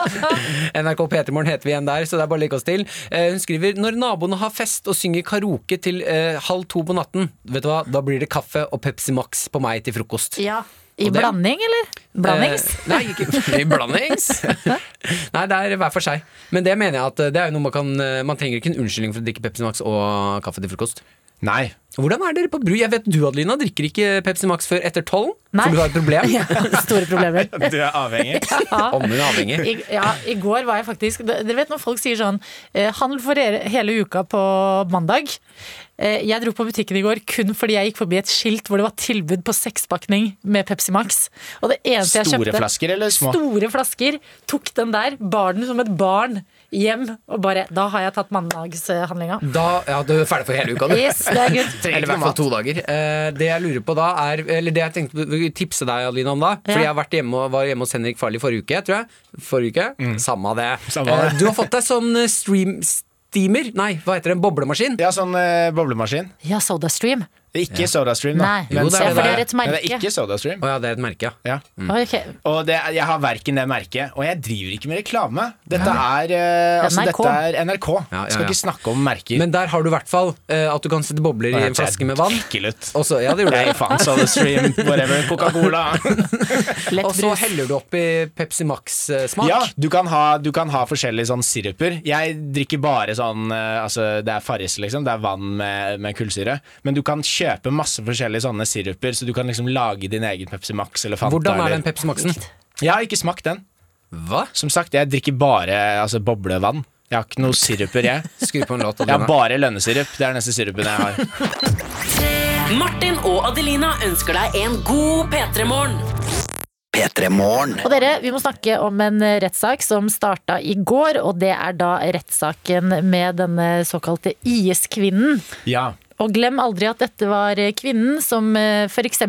S2: NRK P3morgen heter vi igjen der, så det er bare å legge oss til. Eh, Hun skriver når naboene har fest og synger karaoke til eh, halv to på natten, vet du hva, da blir det kaffe og Pepsi Max på meg til frokost.
S3: Ja. I
S2: Og det-
S3: blanding, eller? Blandings?
S2: Eh, nei, ikke i blandings. nei, det er hver for seg. Men det mener jeg at eh, det er jo noe man kan eh, Man trenger ikke en unnskyldning for å drikke Pepsi Max og kaffe til frokost.
S10: Nei.
S2: Hvordan er dere på bru? Jeg vet du, Adelina, drikker ikke Pepsi Max før etter tolv.
S3: Nei.
S2: For du har et problem.
S3: Ja, store problemer.
S10: Du er avhengig.
S3: Ja.
S2: Om hun er avhengig.
S3: I, ja, I går var jeg faktisk Dere vet når folk sier sånn eh, Handel for hele, hele uka på mandag. Eh, jeg dro på butikken i går kun fordi jeg gikk forbi et skilt hvor det var tilbud på sekspakning med Pepsi Max. Og det eneste jeg
S10: Store
S3: kjøpte
S10: flasker eller små?
S3: Store flasker. Tok den der, bar den som et barn hjem og bare Da har jeg tatt mandagshandlinga.
S10: Mm.
S2: Da, ja, du er ferdig for hele uka, du.
S3: Yes, det er good.
S2: Eller i hvert fall to dager. Eh, det jeg lurer på da er Eller det jeg tenkte å tipse deg Adelina, om da.
S3: Ja.
S2: Fordi jeg har vært hjemme, og- var hjemme hos Henrik Farley forrige uke, tror jeg. Forrige uke. Samme av det.
S10: Mm. Samme av
S2: Eh,
S10: det.
S2: du har fått deg sånn stream... Steamer? Nei, hva heter det? En boblemaskin?
S10: Ja, sånn eh, boblemaskin.
S3: Ja, SodaStream.
S10: Det er Ikke SodaStream, da.
S3: Nei,
S2: Jo, det er det
S3: se, for det
S2: der.
S3: er et
S10: Men
S3: merke.
S10: det er ikke SodaStream.
S2: Å ja, det er et merke, ja.
S10: Ja.
S3: Ok.
S10: Og det, er- jeg har verken det merket, og jeg driver ikke med reklame. Dette er, eh, altså,
S3: NRK.
S10: dette er NRK.
S2: Ja, ja,
S10: Skal
S2: ja.
S10: ikke snakke om merker.
S2: Men der har du i hvert fall eh, at du kan sette bobler i en flaske med vann.
S10: Ikke lutt.
S2: Og så, ja, det gjorde
S10: Nei,
S2: jeg.
S10: faen, SodaStream, whatever, Coca-Cola.
S3: Lett
S2: Og så
S3: brus.
S2: heller du oppi Pepsi Max-smak.
S10: Ja, du kan ha, du kan ha forskjellige sånn siruper. Jeg drikker bare sånn eh, altså, Det er Farris, liksom. Det er vann med, med kullsyre. Men du kan kjøpe masse forskjellige sånne siruper, så du kan liksom lage din egen Pepsi Max eller Fanta.
S2: Hvordan er
S10: eller-
S2: den Pepsi Max-en?
S10: Jeg har ikke smakt den.
S2: Hva?
S10: Som sagt, jeg drikker bare altså, boblevann. Jeg har ikke noe siruper, jeg.
S2: Skru på en låt,
S10: Jeg har
S2: Adelina.
S10: bare lønnesirup. Det er den eneste sirupen jeg har.
S6: Martin og Adelina ønsker deg en god P3morgen.
S5: P3morgen.
S3: Og dere, vi må snakke om en rettssak som starta i går, og det er da rettssaken med denne såkalte IS-kvinnen.
S10: Ja.
S3: Og glem aldri at dette var eh, kvinnen som f.eks.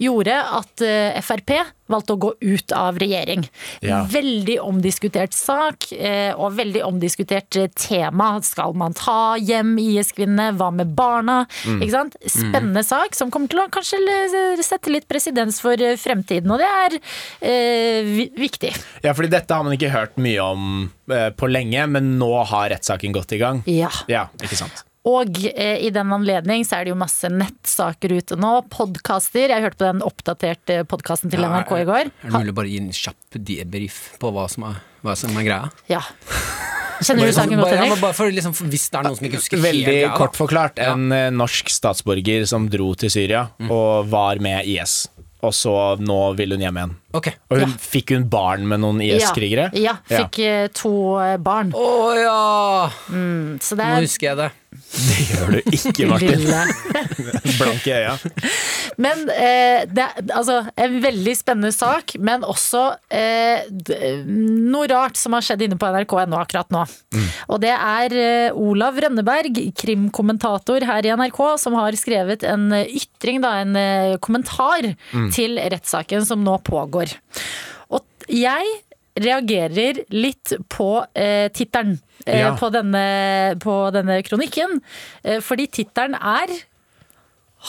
S3: gjorde at eh, Frp valgte å gå ut av regjering.
S10: Ja.
S3: Veldig omdiskutert sak eh, og veldig omdiskutert eh, tema. Skal man ta hjem IS-kvinnene? Hva med barna? Ikke sant? Spennende sak som kommer til å kanskje eh, sette litt presedens for eh, fremtiden, og det er eh, vi- viktig.
S10: ja, fordi dette har man ikke hørt mye om eh, på lenge, men nå har rettssaken gått i gang.
S3: Ja.
S10: Ja, ikke sant.
S3: Og eh, i den anledning så er det jo masse nettsaker ute nå. Podkaster. Jeg hørte på den oppdaterte podkasten til NRK i går.
S2: Er det mulig å bare gi en kjapp debrief på hva som er, hva som er greia?
S3: Ja. Kjenner du saken godt,
S2: bare, ja, men
S3: Henrik?
S2: bare for, liksom, for Hvis det er noen som ikke husker helt
S10: Veldig
S2: greia, da.
S10: kort forklart. En eh, norsk statsborger som dro til Syria og var med IS. Og så nå vil hun hjem igjen. Og hun, fikk hun barn med noen IS-krigere?
S3: Ja, ja fikk eh, to eh, barn.
S2: Å ja!
S3: Mm, så det
S2: Nå
S3: er
S2: husker jeg det.
S10: Det gjør du ikke, Martin.
S3: Lille.
S10: Blank i øya.
S3: Men eh, det er altså en veldig spennende sak, men også eh, d- noe rart som har skjedd inne på nrk.no akkurat nå.
S12: Mm.
S3: Og det er eh, Olav Rønneberg, krimkommentator her i NRK, som har skrevet en eh, ytring, da, en eh, kommentar
S12: Mm.
S3: til rettssaken som nå pågår. Og t- jeg reagerer litt på eh, tittelen eh,
S12: Ja.
S3: på, denne, på denne kronikken, eh, fordi tittelen er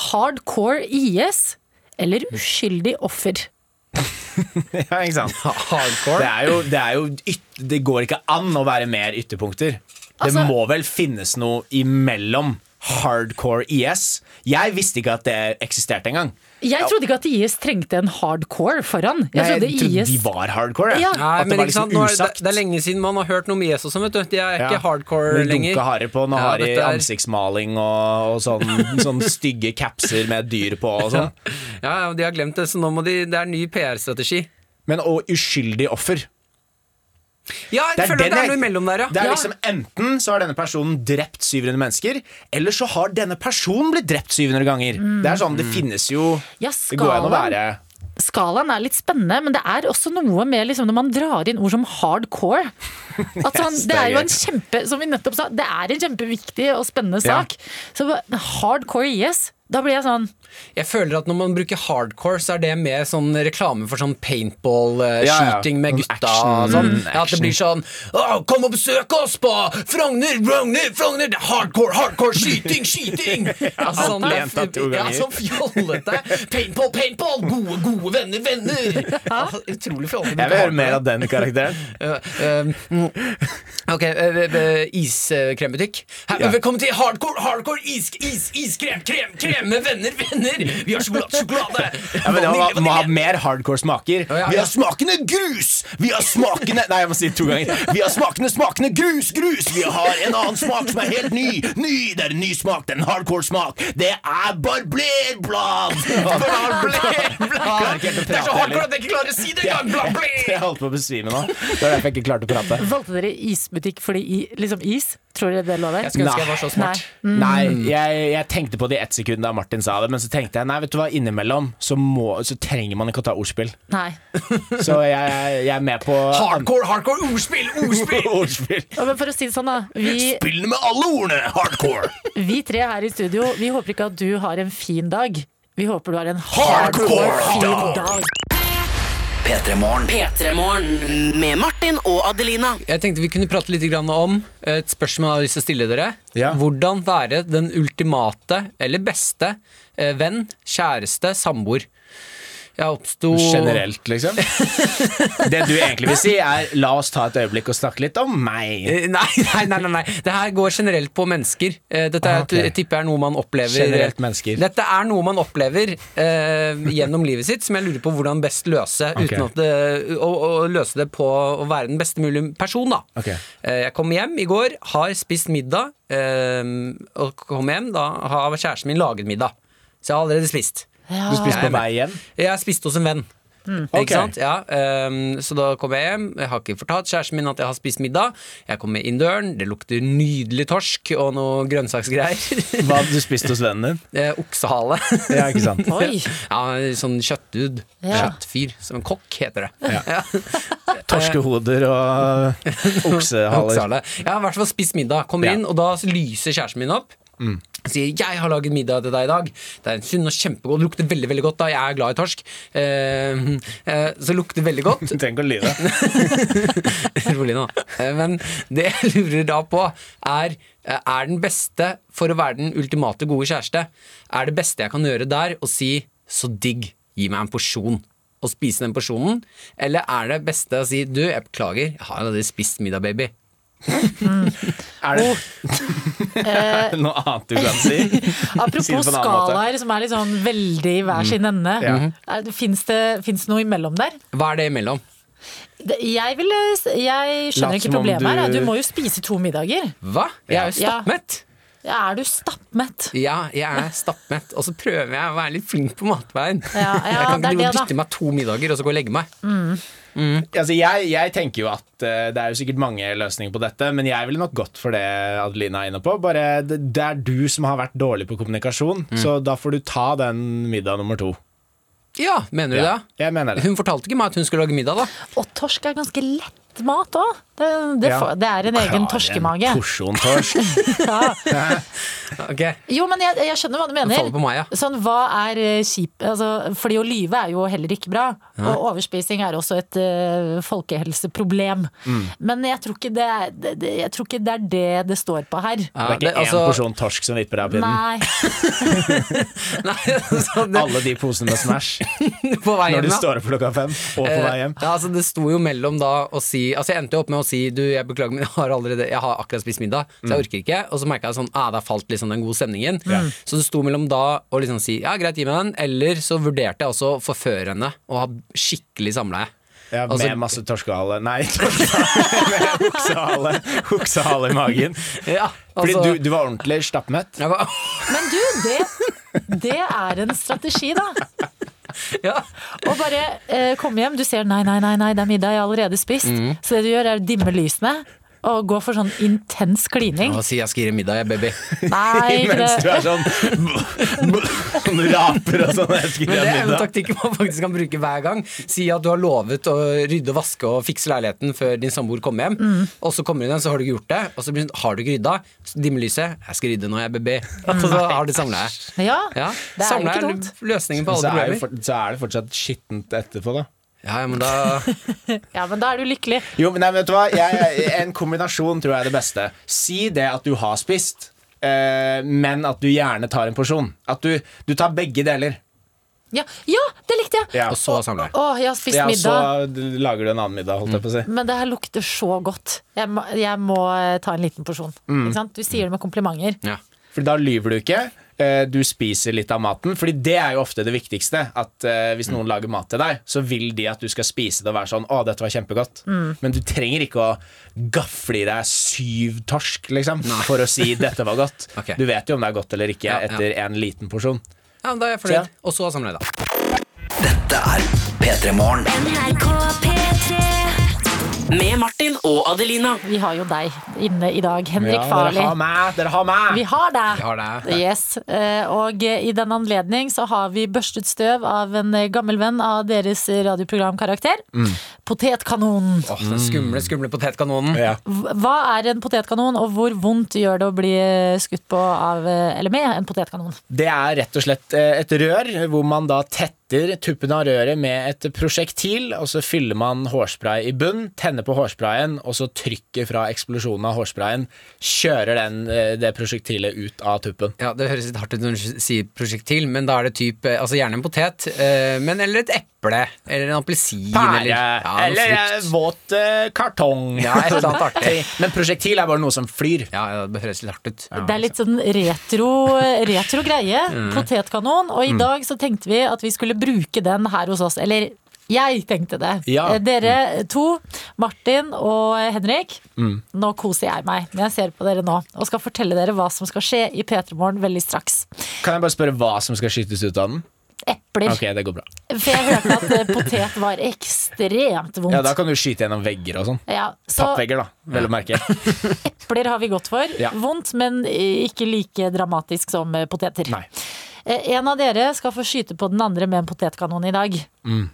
S3: Hardcore IS eller uskyldig offer?
S10: Ja, ikke sant? Det, er jo, det, er jo yt, det går ikke an å være mer ytterpunkter.
S3: Altså-
S10: det må vel finnes noe imellom hardcore IS. Jeg visste ikke at det eksisterte engang.
S3: Jeg trodde ikke at IS trengte en hardcore foran. Jeg trodde
S10: jeg trodde
S3: IS
S10: de var hardcore. jeg.
S3: Ja.
S2: Nei,
S10: At det
S2: men
S10: var
S2: ikke
S10: liksom
S2: sant, nå er det,
S10: usagt.
S2: det er lenge siden man har hørt noe om Jesus og sånn, vet du. De er
S10: Ja.
S2: ikke hardcore
S10: Når de
S2: lenger.
S10: Dunka harry på noe
S2: Ja,
S10: harry
S2: dette er-
S10: ansiktsmaling og, og sånn, sånn stygge capser med dyr på og sånn.
S2: Ja, ja, de har glemt det, så nå må de Det er ny PR-strategi.
S10: Men og uskyldig offer.
S2: Ja, jeg føler at det
S10: den
S2: er noe
S10: jeg-
S2: imellom der, ja.
S10: Det er
S2: Ja.
S10: liksom Enten så har denne personen drept 700 mennesker, eller så har denne personen blitt drept 700 ganger.
S2: Mm.
S10: Det er sånn, det finnes jo
S3: Ja,
S10: Det går an å
S3: skalaen.
S10: være
S3: Skalaen er litt spennende, men det er også noe med liksom, når man drar inn ord som hardcore. At sånn,
S12: Yes,
S3: det er jo en
S12: det
S3: kjempe Som vi nettopp sa, det er en kjempeviktig og spennende
S2: Ja.
S3: sak. Så hardcore IS, da blir jeg sånn
S2: Jeg føler at når man bruker hardcore, så er det mer sånn reklame for sånn paintball-shooting
S4: Ja, ja.
S2: med
S4: Sånn
S2: gutta.
S4: action.
S2: og Sånn.
S4: Mm,
S2: Ja, at det blir sånn «Å, Kom og besøk oss på Frogner, Frogner, Frogner! Det er hardcore, hardcore, skyting, skyting! Altså, sånn,
S4: Alt
S2: det,
S4: gjentatt to
S2: ja,
S4: ganger.
S2: sånn fjollete. Paintball, paintball! Gode, gode venner, venner! Altså, utrolig fjollete.
S10: Jeg vil høre mer av den karakteren.
S2: Eh, mm. ok, eh, eh, iskrembutikk. Her-
S10: Ja.
S2: Velkommen til hardcore, hardcore is, is, iskrem, krem, krem med venner, venner! Vi har sjokolade, sjokolade!
S10: ja, men det må, må ha mer hardcore smaker.
S2: ja,
S10: Vi
S2: ja.
S10: har smakene grus! Vi har smakene Nei, jeg må si det to ganger. Vi har smakene, smakene grus, grus! Vi har en annen smak som er helt ny. Ny! Det er en ny smak. Det er en hardcore smak. Det er barberblad! Barberblad!
S2: Det er så hardcore at jeg ikke klarer å si det engang! Bla, bla.
S10: Jeg holdt på å besvime nå. Det var derfor jeg ikke klarte å prate.
S3: Valgte dere isbutikk fordi i, liksom is? Tror dere det lå der? Nei. Mm.
S10: Nei, jeg, jeg tenkte på det i ett sekund da Martin sa det, men så tenkte jeg nei, vet du hva, innimellom så, må, så trenger man ikke å ta ordspill.
S3: Nei.
S10: Så jeg, jeg er med på
S2: Hardcore, hardcore, ordspill, ordspill!
S10: ordspill.
S3: Ja, men for å si det sånn, da. Vi,
S10: Spillene med alle ordene! Hardcore!
S3: Vi tre her i studio, vi håper ikke at du har en fin dag. Vi håper du har en
S5: Hardcore
S3: hardcore
S5: dag.
S3: fin dag.
S5: P3morgen.
S6: P3morgen med Martin og Adelina.
S2: Jeg tenkte vi kunne prate litt grann om et spørsmål jeg har lyst til å stille dere. Hvordan være den ultimate eller beste eh, venn, kjæreste, samboer? Jeg oppsto
S10: Generelt, liksom? Det du egentlig vil si, er la oss ta et øyeblikk og snakke litt om meg.
S2: Eh, Nei, nei, nei, nei, nei. Det her går generelt på mennesker. Eh, Dette er,
S10: Ah, ok.
S2: jeg tipper er noe man opplever
S10: Generelt mennesker.
S2: Dette er noe man opplever eh, gjennom livet sitt, som jeg lurer på hvordan best løse.
S10: Ok.
S2: Uten at det, å, å løse det på å være den beste mulige person, da.
S10: Ok.
S2: Eh, Jeg kom hjem i går, har spist middag, eh, og kom hjem, da har kjæresten min laget middag. Så jeg har allerede spist.
S10: Du spiste på vei hjem?
S2: Jeg spiste hos en venn.
S10: Mm. Ok.
S2: Ikke sant? Ja, ehm, så da kom jeg hjem. Jeg har ikke fortalt kjæresten min at jeg har spist middag. Jeg kommer inn døren, det lukter nydelig torsk og noe grønnsaksgreier.
S10: Hva hadde du spist hos vennen din?
S2: Eh, Oksehale.
S10: Ja, ikke sant?
S3: Oi.
S2: Ja, sånn kjøtthud.
S3: Ja.
S2: Kjøttfyr. Som en kokk, heter det.
S10: Ja. Torskehoder og oksehaler.
S2: Oksehale. Jeg har i hvert fall spist middag. Kommer inn, og da lyser kjæresten min opp.
S10: Mm.
S2: Sier 'jeg har laget middag til deg i dag'. Det er en sunn og kjempegod. Lukter veldig veldig godt. da Jeg er glad i torsk. Eh, eh, så lukter veldig godt.
S10: Du trenger ikke å lyve.
S2: Rolig nå. Eh, Men det jeg lurer da på, er eh, Er den beste for å være den ultimate gode kjæreste? Er det beste jeg kan gjøre der, å si 'så digg, gi meg en porsjon'? Og spise den porsjonen? Eller er det beste å si 'du, jeg beklager, jeg har allerede spist middag, baby'?
S10: Er det
S3: Eh,
S10: noe annet du kan si? Si det
S3: apropos
S10: på en annen måte.
S3: skalaer som er litt sånn veldig i hver sin ende.
S2: Ja.
S3: Fins det, finnes det noe imellom der?
S2: Hva er det imellom?
S3: Det- Jeg, vil, jeg
S2: Lat
S3: skjønner ikke
S2: som om
S3: problemet her.
S2: du-
S3: Du må jo spise to middager.
S2: Hva? Jeg er jo
S3: Ja.
S2: stappmett.
S3: Ja, er du stappmett?
S2: Ja, jeg er stappmett. Og så prøver jeg å være litt flink på matveien.
S3: Ja, ja,
S2: jeg kan
S3: det
S2: ikke
S3: er
S2: drive og
S3: det, da.
S2: dytte meg to middager og så gå og legge meg.
S10: Altså, jeg, jeg tenker jo at eh, det er jo sikkert mange løsninger på dette, men jeg ville nok gått for det Adelina er inne på. Bare det, det er du som har vært dårlig på kommunikasjon,
S2: Mm.
S10: så da får du ta den middag nummer to.
S2: Ja, mener du
S10: Ja,
S2: det? Hun fortalte ikke meg at hun skulle lage middag, da.
S3: Og torsk er ganske lett mat òg. Det, det,
S2: Ja.
S3: får- det er en egen
S2: Klarer
S3: torskemage.
S2: en
S10: Porsjon torsk.
S2: Ok,
S3: Jo, men jeg, jeg skjønner hva du
S2: Den faller
S3: mener.
S2: på meg, ja.
S3: Sånn, hva er eh, kjip altså, Fordi å lyve er jo heller ikke bra.
S2: Nei.
S3: Og overspising er også et eh, folkehelseproblem.
S2: Mm.
S3: Men jeg tror, ikke det, er- det, det, jeg tror ikke det er det det står på her.
S10: det er ikke én
S2: altså-
S10: porsjon torsk som vipper deg av pinnen.
S3: Nei.
S10: Alle de posene med Smash.
S2: sånn, På vei hjem,
S10: Når du
S2: da.
S10: står opp klokka fem og på vei hjem.
S2: Eh, Ja, altså det sto jo mellom da å si Altså jeg endte jo opp med å si Du, jeg beklager, men jeg har allerede Jeg har akkurat spist middag, så jeg orker ikke. Og så merka jeg sånn Ah, der falt liksom den gode stemningen.
S10: Mm. Ja.
S2: Så det sto mellom da å liksom si ja, greit, gi meg den, eller så vurderte jeg også å forføre henne og ha skikkelig samleie.
S10: Ja, med
S2: Altså-
S10: masse torskehale Nei, torskehale. med hoksehale, hoksehale i magen.
S2: Ja,
S10: Fordi
S2: altså-
S10: du, du var ordentlig stappmett.
S3: Men du, det, det er en strategi, da. Og bare eh, komme hjem, du ser nei, nei, nei, nei, det er middag, jeg har allerede spist.
S2: Mhm.
S3: Så det du gjør, er å dimme lysene og gå for sånn intens klining.
S2: Og si jeg skal gi deg middag, jeg, baby.
S3: Nei, ikke
S10: Mens du
S3: det.
S10: er sånn Du raper og sånn. Jeg
S2: Men
S10: skriver
S2: det er jo en
S10: middag.
S2: taktikk man faktisk kan bruke hver gang. Si at du har lovet å rydde, vaske og fikse leiligheten før din samboer kommer hjem.
S3: Mm.
S2: Og så kommer hun hjem, så har du ikke gjort det. Og så blir hun sånn, har du ikke rydda? Så dimmer lyset. Jeg skal rydde nå, jeg, baby. Og så har du samleie.
S3: Ja,
S2: Ja.
S3: Mm. det er jo
S2: Samleie
S3: ikke
S2: er
S3: dumt.
S2: løsningen på
S10: Så
S2: alle
S10: er,
S2: problemer.
S10: det for, så er det fortsatt skittent etterpå, da.
S2: Ja, ja, men da
S3: Ja, men da er du lykkelig.
S10: Jo, men nei, vet du hva? Jeg, jeg- en kombinasjon tror jeg er det beste. Si det at du har spist, eh, men at du gjerne tar en porsjon. At du, du tar begge deler.
S3: Ja, ja det likte jeg!
S10: Og så samler
S3: Å, jeg har spist
S10: Ja, og
S3: middag. Mm.
S10: så lager du en annen middag, holdt jeg på å si.
S3: Men det her lukter så godt. Jeg må, jeg må eh, ta en liten porsjon.
S10: Mm.
S3: Ikke sant? Du sier det med komplimenter.
S10: For da lyver du ikke. eh, Du spiser litt av maten. Fordi det er jo ofte det viktigste. At eh, Hvis noen lager mat til deg, så vil de at du skal spise det og være sånn 'Å, dette var kjempegodt'.
S3: Mm.
S10: Men du trenger ikke å gafle i deg syv torsk liksom, for å si 'dette var godt'. Du vet jo om det er godt eller ikke etter en liten porsjon.
S2: Ja, men da er jeg
S10: Ja.
S2: fornøyd. Og så samleie, da.
S5: Dette er P3 Morgen.
S6: NRK P3 Med Martin og Adelina.
S3: Vi har jo deg inne i dag, Henrik
S10: Ja,
S3: Farley.
S10: Dere har meg! Dere har meg!
S3: Vi har deg!
S10: Vi har deg.
S3: Yes. eh, Og eh, i den anledning så har vi børstet støv av en eh, gammel venn av deres radioprogram Karakter.
S10: Mm.
S3: Potetkanonen.
S2: Åh, den skumle, skumle potetkanonen.
S3: Hv- Hva er en potetkanon, og hvor vondt gjør det å bli eh, skutt på av, eh, eller med en potetkanon?
S10: Det er rett og slett eh, et rør hvor man da tetter tuppen av røret med et prosjektil, og så fyller man hårspray i bunn, tenner på hårsprayen, og så trykket fra eksplosjonen av hårsprayen kjører den, eh, det prosjektilet ut av tuppen.
S2: Ja, Det høres litt hardt ut når du sier prosjektil, men da er det typ, eh, altså gjerne en potet, eh, men eller et eple, eller en appelsin.
S10: Pære,
S2: eller, ja, noe
S10: eller
S2: frukt.
S10: eh, våt eh, kartong.
S2: Ja, et eller annet artig.
S10: Men prosjektil er bare noe som flyr.
S2: Ja, ja, det høres litt hardt ut.
S3: Det er litt sånn retro, retro greie.
S2: Mm.
S3: Potetkanon. Og i
S2: Mm.
S3: dag så tenkte vi at vi skulle bruke den her hos oss. Eller jeg tenkte det.
S10: Ja. Mm.
S3: Eh, Dere to, Martin og Henrik. Nå koser jeg meg, men jeg ser på dere nå. Og skal fortelle dere hva som skal skje i P3 Morgen veldig straks.
S10: Kan jeg bare spørre hva som skal skytes ut av den?
S3: Epler.
S10: Ok, det går bra.
S3: For jeg hørte at eh, potet var ekstremt vondt.
S10: Ja, Da kan du skyte gjennom vegger og sånn.
S3: Ja, så
S10: Pappvegger, da, vel å merke.
S3: epler har vi gått for.
S10: Ja.
S3: Vondt, men ikke like dramatisk som eh, poteter. Eh, En av dere skal få skyte på den andre med en potetkanon i dag.
S10: Mm.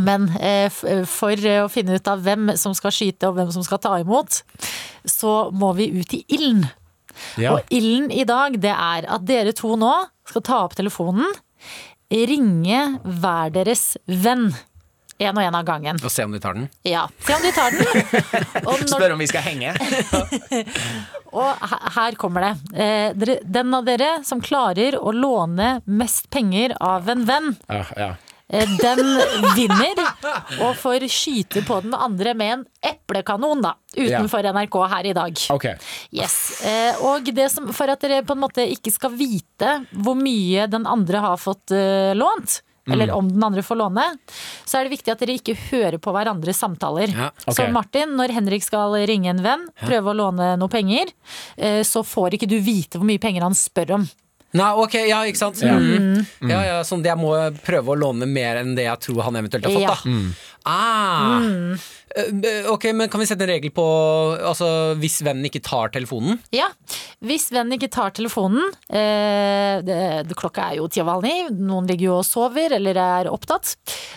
S3: Men eh, f- eh, for eh, å finne ut av hvem som skal skyte og hvem som skal ta imot, så må vi ut i ilden.
S12: Ja.
S3: Og ilden i dag, det er at dere to nå skal ta opp telefonen, ringe hver deres venn. En og en av gangen.
S2: Og se om de tar den.
S3: Ja, Se om de tar den. Og når
S10: Spørre om vi skal henge.
S3: Og he- her kommer det. Eh, dere- Den av dere som klarer å låne mest penger av en venn,
S10: Ja, Ah, ja.
S3: eh, den vinner og får skyte på den andre med en eplekanon, da. Utenfor NRK her i dag.
S10: Ok.
S3: Yes. Eh, Og det som, for at dere på en måte ikke skal vite hvor mye den andre har fått eh, lånt,
S2: Mm.
S3: eller om den andre får låne, så er det viktig at dere ikke hører på hverandres samtaler.
S12: Ja, ok.
S3: Så Martin, når Henrik skal ringe en venn,
S2: Ja.
S3: prøve å låne noe penger, eh, så får ikke du vite hvor mye penger han spør om.
S2: Nei, ok, ja, ikke sant?
S3: Ja.
S2: Mm. Ja, ja, sånn, jeg må prøve å låne mer enn det jeg tror han eventuelt har fått,
S3: Ja. Mm.
S2: da. Ah. Eh, Ok, men kan vi sette en regel på altså, hvis vennen ikke tar telefonen?
S3: Ja, Hvis vennen ikke tar telefonen eh, det, det, Klokka er jo ti over halv ni, noen ligger jo og sover eller er opptatt.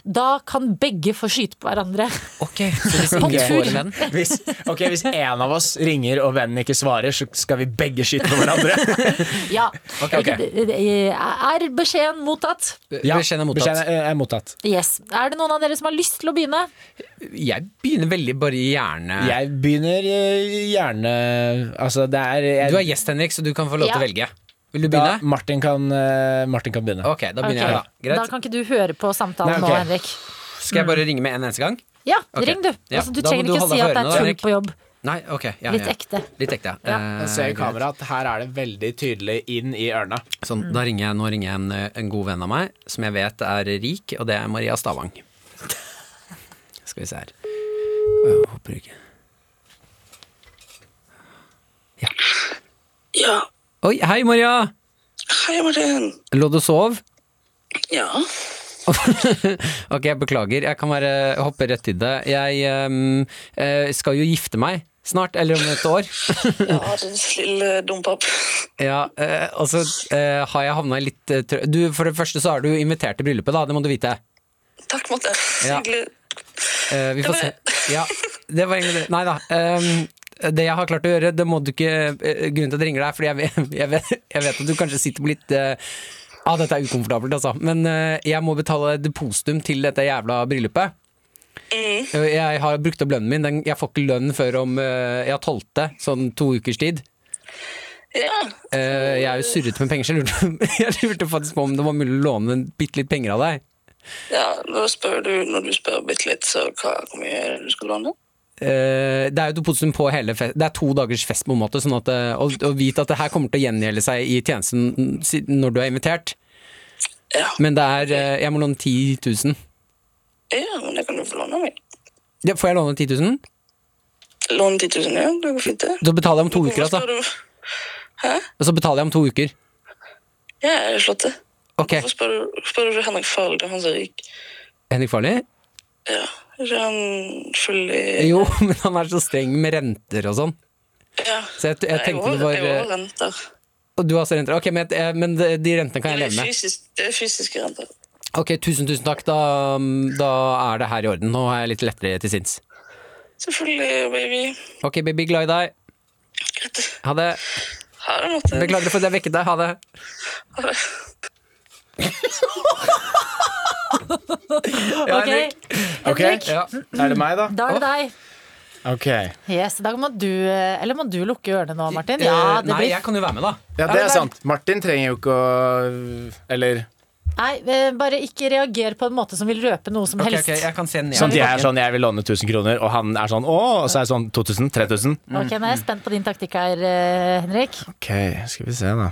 S3: Da kan begge få skyte på hverandre.
S2: Ok,
S3: På tur.
S10: hvis, ok, hvis en av oss ringer og vennen ikke svarer, så skal vi begge skyte på hverandre.
S3: Ja.
S10: Ok, ok.
S3: Ikke- Er beskjeden mottatt?
S10: Ja,
S2: Beskjeden er mottatt.
S10: beskjeden er- er mottatt.
S3: Yes. Er det noen av dere som har lyst til å begynne?
S2: Jeg begynner veldig bare gjerne.
S10: Jeg begynner eh, gjerne Altså, det er jeg,
S2: Du er gjest, Henrik, så du kan få lov til å
S3: Ja.
S2: velge. Vil du begynne?
S10: Da, Martin, kan, eh, Martin kan begynne.
S2: Ok, da begynner
S3: Ok,
S2: jeg, da. Greit.
S3: kan ikke du høre på samtalen
S2: Nei, ok.
S3: nå, Henrik.
S2: Skal jeg bare ringe med en eneste gang?
S3: Ja,
S2: Ok.
S3: ring du.
S2: Ja,
S3: Altså, du
S2: da må
S3: trenger
S2: du
S3: ikke
S2: holde
S3: si
S2: for
S3: at det
S2: ørene,
S3: er tull
S2: Henrik.
S3: på jobb.
S2: Nei, ok. Ja,
S3: Litt
S2: ja.
S3: ekte.
S2: Litt ekte, ja. Eh,
S10: Jeg ser i
S2: greit.
S10: kameraet at her er det veldig tydelig inn i ørene.
S2: Sånn, da ringer jeg, nå ringer jeg en, eh, en god venn av meg, som jeg vet er rik, og det er Maria Stavang. Skal vi se her. Jeg håper ikke
S7: Ja.
S2: Oi, hei, Maria!
S7: Hei, Martin.
S2: Lå du og sov?
S7: Ja.
S2: ok, jeg beklager. Jeg kan bare hoppe rett til det. Jeg ehm, eh, skal jo gifte meg snart, eller om et år.
S7: Ja, din lille dompap.
S2: Ja, eh, og så eh, har jeg havna i litt eh, trø... Du, for det første så er du jo invitert til bryllupet, da. Det må du vite.
S7: Takk, Matte.
S2: Ja.
S7: Hyggelig.
S2: Eh, vi
S7: Det
S2: får
S7: var-
S2: se. Ja, det var egentlig det. Nei da. ehm, det jeg har klart å gjøre, det må du ikke eh, Grunnen til at jeg ringer deg, er fordi jeg vet, jeg vet, jeg vet at du kanskje sitter på litt eh, Ah, dette er ukomfortabelt, altså. Men eh, jeg må betale depositum til dette jævla bryllupet. Eh, Jeg har brukt opp lønnen min. Den, jeg får ikke lønn før om eh, ja, 12., sånn to ukers tid.
S7: Ja.
S2: Eh, jeg er jo surrete med penger, så jeg lurte, jeg lurte faktisk på om det var mulig å låne bitte litt penger av deg.
S7: ja, da spør du, når du spør bitte litt, så hva, hvor mye du skal låne?
S2: Eh, det er jo depositum på hele fest Det er to dagers fest, på en måte. Sånn at, eh, og, og vit at det her kommer til å gjengjelde seg i tjenesten si- når du er invitert. Men det er eh, Jeg må låne 10 000.
S7: Ja, men det kan du få låne av meg.
S2: Ja, får jeg låne 10 000?
S7: Låne 10 000, ja. Det går fint, det.
S2: Så betaler jeg om to uker, altså.
S7: Hvorfor spør du? Hæ?
S2: Og så betaler jeg om to uker.
S7: Ja, jeg har slått det.
S2: Ok.
S7: Hvorfor spør du, spør du Henrik Farley? Det er han som er rik.
S2: Henrik Farley?
S7: Ja. Er ikke han skyldig
S2: Jo, men han er så streng med renter og sånn.
S7: Ja.
S2: Så jeg, jeg
S7: Nei,
S2: tenkte det
S7: jeg har-
S2: var
S7: Jeg har
S2: eh,
S7: renter.
S2: Og du har også renter? Ok, men, jeg- eh, men de de rentene kan jeg
S7: Det er
S2: leve med.
S7: fysisk- Det er fysiske renter.
S2: Ok, tusen, tusen takk. Da, da er det her i orden. Nå er jeg litt lettere til sinns.
S7: Selvfølgelig, baby.
S2: Ok, baby, glad i deg. Ha det.
S7: Ha det, eh. Martin.
S2: Beklager for at jeg vekket deg. Ha det.
S10: Ja,
S3: Ok.
S10: Henrik. Ok,
S3: Henrik.
S10: ja. Er det meg, da?
S3: Da er det deg.
S10: Ok.
S3: Yes, da må du, eller må du lukke ørene nå, Martin?
S10: Eh,
S3: Ja, det blir...
S2: kan jo være med, da.
S10: Ja, det er sant. Martin trenger jo ikke å Eller
S3: Nei, eh, bare ikke reager på en måte som vil røpe noe som helst.
S10: Sånn at jeg er sånn, jeg vil låne 1000 kroner, og han er sånn åh, og så er jeg sånn 2000, 3000.
S3: Ok, nå er jeg spent på din taktikk her, eh, Henrik.
S10: Ok, skal vi se da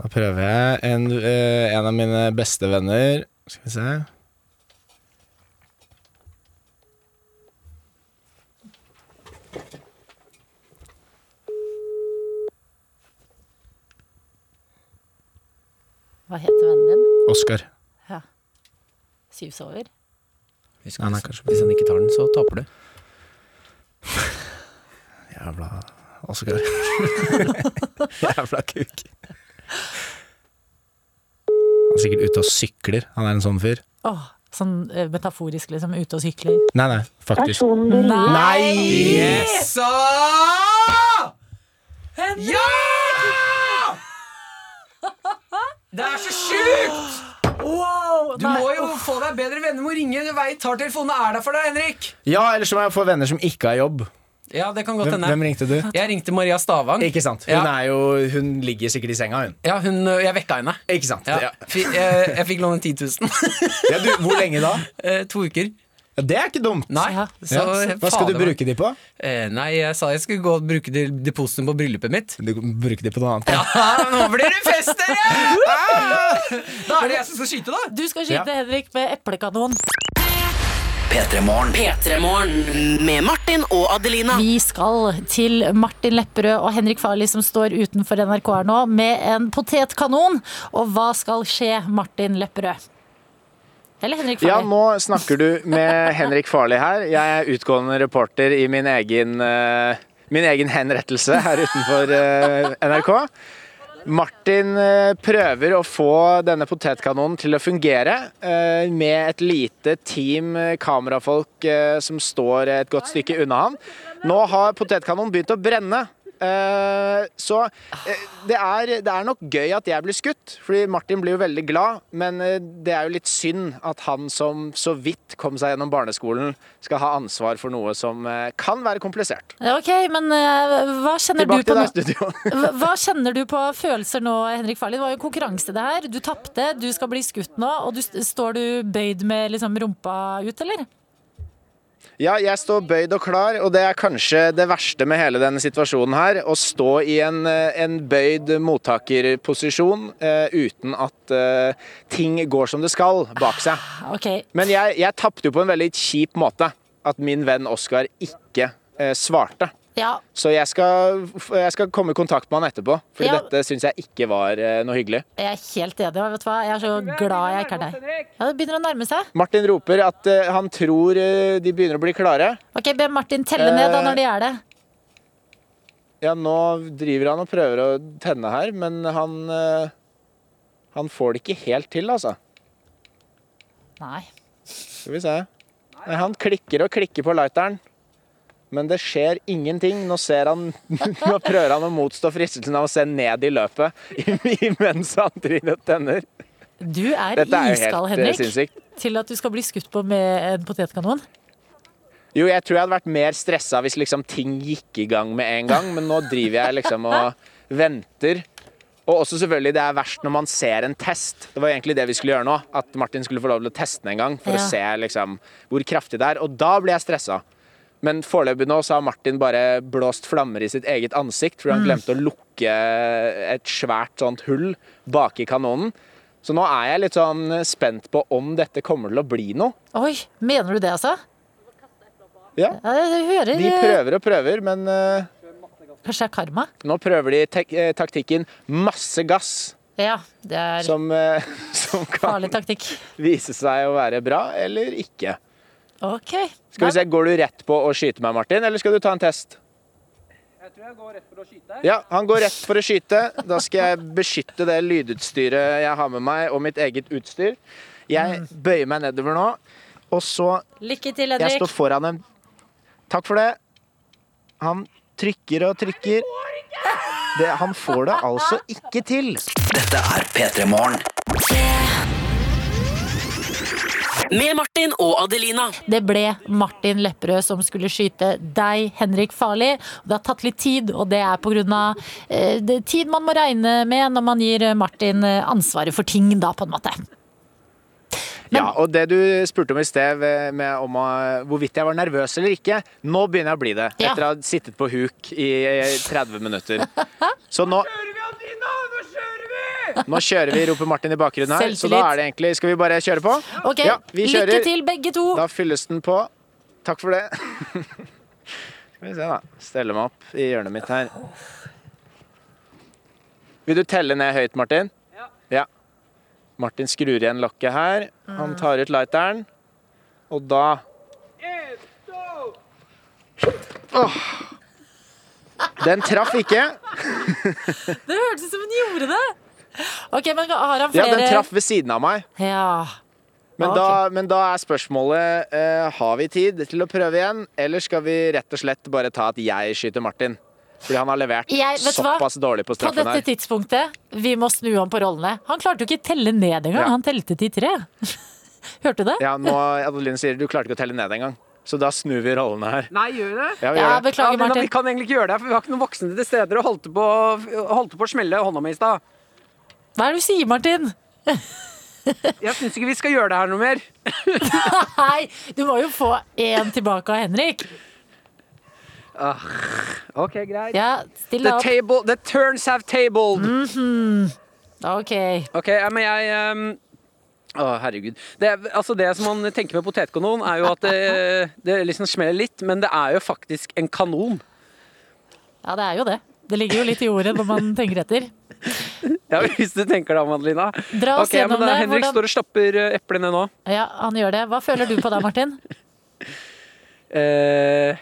S10: Da prøver jeg En, eh, en av mine beste venner Skal vi se
S3: Hva heter vennen din?
S10: Oskar
S3: Ja. Syvsover?
S2: Hvis,
S10: Nei, nei,
S2: hvis han ikke tar den, så taper du.
S10: Jævla Oskar Jævla kuk Han er sikkert ute og sykler Han er en sånn fyr
S3: Åh, sånn eh, metaforisk liksom, ute og sykler.
S10: Nei, nei, faktisk
S3: Nei!
S10: Yes!
S3: Henrik!
S2: Det er så sjukt!
S3: Wow!
S2: Du må jo få deg bedre venner, må ringe en vei, tar telefonen og er der for deg, Henrik.
S10: Ja, ellers så må jeg få venner som ikke har jobb
S2: Ja, det kan godt
S10: Hvem,
S2: hende.
S10: hvem ringte du?
S2: Jeg ringte Maria Stavang.
S10: Ikke sant, hun,
S2: Ja.
S10: er jo, hun ligger sikkert i senga hun
S2: Ja, hun, øh, jeg vekka henne.
S10: Ikke sant
S2: Ja. øh,
S10: Ja.
S2: Fi- Jeg, jeg fikk låne 10 000.
S10: Ja, du, hvor lenge da?
S2: Eh, to uker.
S10: Det er ikke dumt.
S2: Nei,
S10: Ja.
S2: så øh,
S10: Hva skal
S2: fader,
S10: du bruke de på?
S2: Eh, nei, jeg sa jeg skulle gå og bruke de- depositen på bryllupet mitt.
S10: Du bruker de på noe annet.
S2: Ja, Ah, nå blir det fest, dere! Ah! Da er det jeg som skal skyte, da.
S3: Du skal skyte Henrik med eplekanon.
S5: P3morgen.
S6: P3morgen med Martin og Adelina.
S3: Vi skal til Martin Lepperød og Henrik Farli som står utenfor NRK her nå med en potetkanon. Og hva skal skje, Martin Lepperød? Eller Henrik Farli?
S10: Ja, nå snakker du med Henrik Farli her. Jeg er utgående reporter i min egen, eh, min egen henrettelse her utenfor eh, NRK. Martin eh, prøver å få denne potetkanonen til å fungere eh, med et lite team eh, kamerafolk eh, som står et godt stykke unna han. Nå har potetkanonen begynt å brenne. Eh, så eh, det er, det er nok gøy at jeg blir skutt, fordi Martin blir jo veldig glad. Men eh, det er jo litt synd at han som så vidt kom seg gjennom barneskolen, skal ha ansvar for noe som eh, kan være komplisert.
S3: Ok, men eh, hva kjenner
S10: Tilbake
S3: du på
S10: til deg,
S3: nå-
S10: studio.
S3: Hva- Hva kjenner du på følelser nå, Henrik Farli? Det var jo en konkurranse det her. Du tapte, du skal bli skutt nå, og du, st- står du bøyd med liksom rumpa ut, eller?
S10: Ja, jeg står bøyd og klar, og det er kanskje det verste med hele denne situasjonen her. Å stå i en, eh, en bøyd mottakerposisjon eh, uten at eh, ting går som det skal bak seg.
S3: Ok.
S10: Men jeg, jeg tapte jo på en veldig kjip måte. At min venn Oskar ikke eh, svarte.
S3: Ja.
S10: Så jeg skal, jeg skal komme i kontakt med han etterpå, for
S3: Ja.
S10: dette syns jeg ikke var eh, noe hyggelig.
S3: Jeg er helt enig. og Vet du hva? Jeg er så glad jeg ikke er deg. Ja, det begynner å nærme seg.
S10: Martin roper at eh, han tror eh, de begynner å bli klare.
S3: Ok, Be Martin telle ned da
S10: Eh,
S3: når de er det.
S10: Ja, nå driver han og prøver å tenne her, men han eh, Han får det ikke helt til, altså.
S3: Nei.
S10: Skal vi se. Nei, han klikker og klikker på lighteren, men det skjer ingenting. Nå ser han Nå prøver han å motstå fristelsen av å se ned i løpet i- mens han driver og tenner.
S3: Du er
S10: Dette er jo
S3: iskald,
S10: helt, eh,
S3: Henrik.
S10: sinnssykt.
S3: Til at du skal bli skutt på med en potetkanon.
S10: Jo, jeg tror jeg hadde vært mer stressa hvis liksom ting gikk i gang med en gang, men nå driver jeg liksom og venter. Og også selvfølgelig, det er verst når man ser en test. Det var egentlig det vi skulle gjøre nå. At Martin skulle få lov til å teste den en gang for
S12: Ja.
S10: å se liksom, hvor kraftig det er. Og da ble jeg stressa. Men foreløpig nå så har Martin bare blåst flammer i sitt eget ansikt, fordi han
S12: Mm.
S10: glemte å lukke et svært sånt hull baki kanonen. Så nå er jeg litt sånn spent på om dette kommer til å bli noe.
S3: Oi, mener du det, altså?
S10: Ja.
S3: Ja, jeg hører
S10: De prøver og prøver, men eh,
S3: Kanskje det er karma?
S10: nå prøver de tek eh, taktikken masse gass.
S3: Ja, det er
S10: Som, eh, som kan
S3: farlig taktikk.
S10: vise seg å være bra eller ikke.
S3: Ok.
S10: Skal vi se, Går du rett på å skyte meg, Martin, eller skal du ta en test? Ja, han går rett for å skyte. Da skal jeg beskytte det lydutstyret jeg har med meg, og mitt eget utstyr.
S3: Mm.
S10: Jeg bøyer meg nedover nå, og så
S3: Lykke til,
S10: Jeg
S3: Henrik.
S10: står foran en Takk for det. Han trykker og trykker. Det, han får det altså ikke til.
S5: Dette er P3morgen.
S6: Med Martin og Adelina.
S3: Det ble Martin Lepperød som skulle skyte deg, Henrik Farli. Det har tatt litt tid, og det er pga. Eh, det er tid man må regne med når man gir eh, Martin eh, ansvaret for ting, da, på en måte.
S10: Ja, og det du spurte om i sted, ved- med om eh, hvorvidt jeg var nervøs eller ikke, nå begynner jeg å bli det.
S3: Ja.
S10: Etter å ha sittet på huk i eh, 30 minutter. Så nå Nå kjører vi, roper Martin i bakgrunnen her. Så
S3: Selvtillit.
S10: da er det egentlig Skal vi bare kjøre på?
S3: Ok,
S10: Ja, vi kjører.
S3: lykke til begge to.
S10: Da fylles den på. Takk for det. Skal vi se, da. Stelle meg opp i hjørnet mitt her. Vil du telle ned høyt, Martin? Ja. Martin skrur igjen lokket her. Han tar ut lighteren, og da Åh. Den traff ikke.
S3: Det hørtes ut som hun gjorde det! Ok, men har han
S10: Ja,
S3: flere
S10: den traff ved siden av meg.
S3: Ja.
S10: Men,
S3: Ja,
S10: da, men da er spørsmålet eh, Har vi tid til å prøve igjen, eller skal vi rett og slett bare ta at jeg skyter Martin? Fordi han har levert
S3: Jeg- vet du hva?
S10: såpass dårlig på
S3: På
S10: straffen
S3: dette
S10: her.
S3: tidspunktet, vi må snu om på rollene. Han klarte jo ikke telle ned engang,
S10: Ja.
S3: han telte til tre. Hørte du det?
S10: Ja, nå Adeline sier du klarte ikke å telle ned engang, så da snur vi rollene her.
S4: Nei, gjør det?
S10: Ja, vi gjør Ja, det. beklager,
S4: men da-
S10: Martin.
S4: Vi kan egentlig ikke gjøre det, for vi har ikke noen voksne til stede og holdt på, holdt på å smelle hånda mi i stad.
S3: Hva er det du sier, Martin?
S2: Jeg syns ikke vi skal gjøre det her noe mer.
S3: Nei, du må jo få én tilbake av Henrik.
S2: Ah, ok, greit.
S3: Ja, still
S2: the
S3: opp.
S2: Table, the turns have tabled.
S3: Ok.
S2: Ok, ja, men jeg um, Å, herregud. Det, er- altså det som man tenker med potetkanon, er jo at det, det liksom smeller litt, men det er jo faktisk en kanon.
S3: Ja, det er jo det. Det ligger jo litt i ordet når man tenker etter.
S2: Ja, Hvis du tenker det, Madelina.
S3: Dra oss
S2: Ok, ja, men
S3: gjennom
S2: da,
S3: det.
S2: Henrik
S3: Hvordan-
S2: står og slapper eh, eplene nå.
S3: Ja, han gjør det. Hva føler du på da, Martin?
S2: Eh,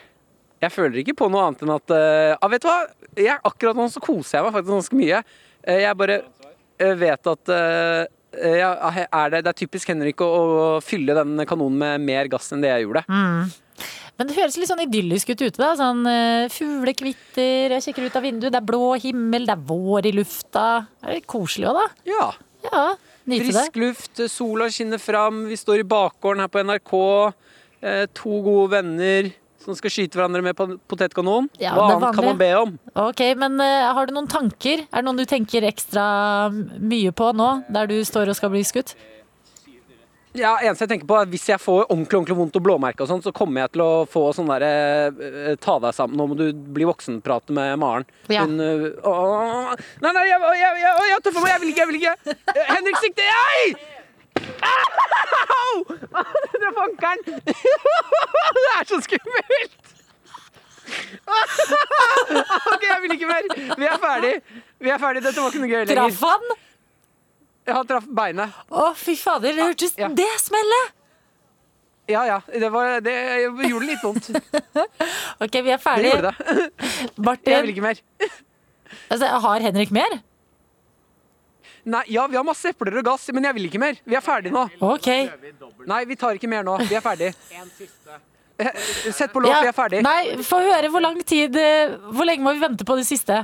S2: jeg føler ikke på noe annet enn at eh, ah, Vet du hva? Jeg, akkurat nå så koser jeg meg faktisk ganske mye. Eh, jeg bare eh, vet at eh, ja, er det, det er typisk Henrik å, å fylle den kanonen med mer gass enn det jeg gjorde.
S3: Men det høres litt sånn idyllisk ut ute, da. Sånn eh, fuglekvitter, jeg kikker ut av vinduet, det er blå himmel, det er vår i lufta. Det er litt koselig òg, da.
S2: Ja.
S3: Ja, nyte det.
S2: Frisk luft, sola skinner fram, vi står i bakgården her på NRK. Eh, to gode venner som skal skyte hverandre med pan- potetkanon.
S3: Ja,
S2: Hva
S3: det er
S2: annet kan
S3: vanlig.
S2: man be om?
S3: Ok, men eh, har du noen tanker? Er det noen du tenker ekstra mye på nå, der du står og skal bli skutt?
S2: Ja, eneste jeg tenker på er Hvis jeg får ordentlig ordentlig vondt og blåmerke, og sånn, så kommer jeg til å få sånn derre eh, Ta deg sammen, nå må du bli voksenprat med Maren.
S1: Ja.
S2: Hun eh, «Åh, Nei, nei, jeg, jeg, jeg, jeg, jeg tøffer meg! Jeg vil ikke, jeg vil ikke! Eh, Henrik, sikte! Ei! Au! Du traff ankelen! Det er så skummelt! OK, jeg vil ikke mer. Vi er ferdig. Vi er ferdig. Dette var ikke noe gøy lenger.
S3: Traff han?
S2: Ja, han traff beinet.
S3: Å, fy fader, det hørtes det smellet!
S2: Ja ja, det, var, det gjorde litt vondt.
S3: Ok, vi er ferdig.
S2: Det gjorde
S3: Martin,
S2: Jeg vil ikke mer.
S3: altså, har Henrik mer?
S2: Nei, ja, vi har masse epler og gass, men jeg vil ikke mer. Vi er ferdig nå.
S3: Ok.
S2: Nei, vi tar ikke mer nå. Vi er ferdig. Eh, Sett på låt,
S3: Ja,
S2: vi er ferdig.
S3: Nei, få høre hvor lang tid eh, Hvor lenge må vi vente på det siste?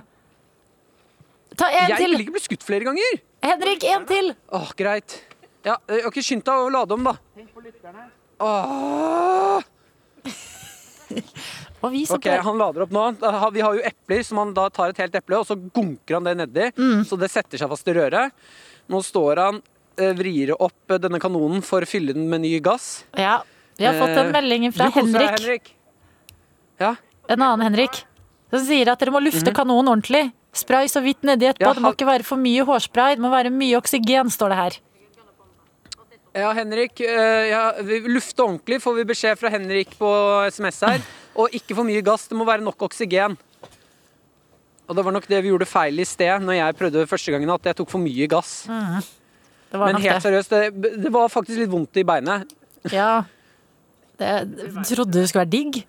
S3: Ta en
S2: jeg
S3: til.
S2: vil ikke bli skutt flere ganger.
S3: Henrik, en til.
S2: Åh, greit. Ja, eh, ok, skynd deg å lade om, da. Åh.
S3: Og vi som
S2: Ok, Han lader opp nå. Da har- Vi har jo epler, som han da tar et helt eple og så gunker han det nedi.
S3: Mm.
S2: Så det setter seg fast i røret. Nå står han, eh, vrir opp eh, denne kanonen for å fylle den med ny gass.
S3: Ja, vi har fått en
S2: Eh,
S3: melding fra
S2: du koser deg,
S3: Henrik.
S2: Henrik. Ja.
S3: En annen Henrik. Som sier at dere må lufte
S2: Mhm.
S3: kanonen ordentlig. Spray så vidt nedi etterpå. det må ikke være for mye hårspray. Det må være mye oksygen, står det her.
S2: Ja, Henrik. eh, Ja, vi- lufte ordentlig, får vi beskjed fra Henrik på SMS her. Og ikke for mye gass. Det må være nok oksygen. Og det var nok det vi gjorde feil i sted, når jeg prøvde første gangen, at jeg tok for mye gass.
S3: Det var
S2: Men
S3: Mm, nok
S2: helt
S3: det.
S2: seriøst, det, det var faktisk litt vondt i beinet.
S3: Ja. Det, trodde det skulle være digg.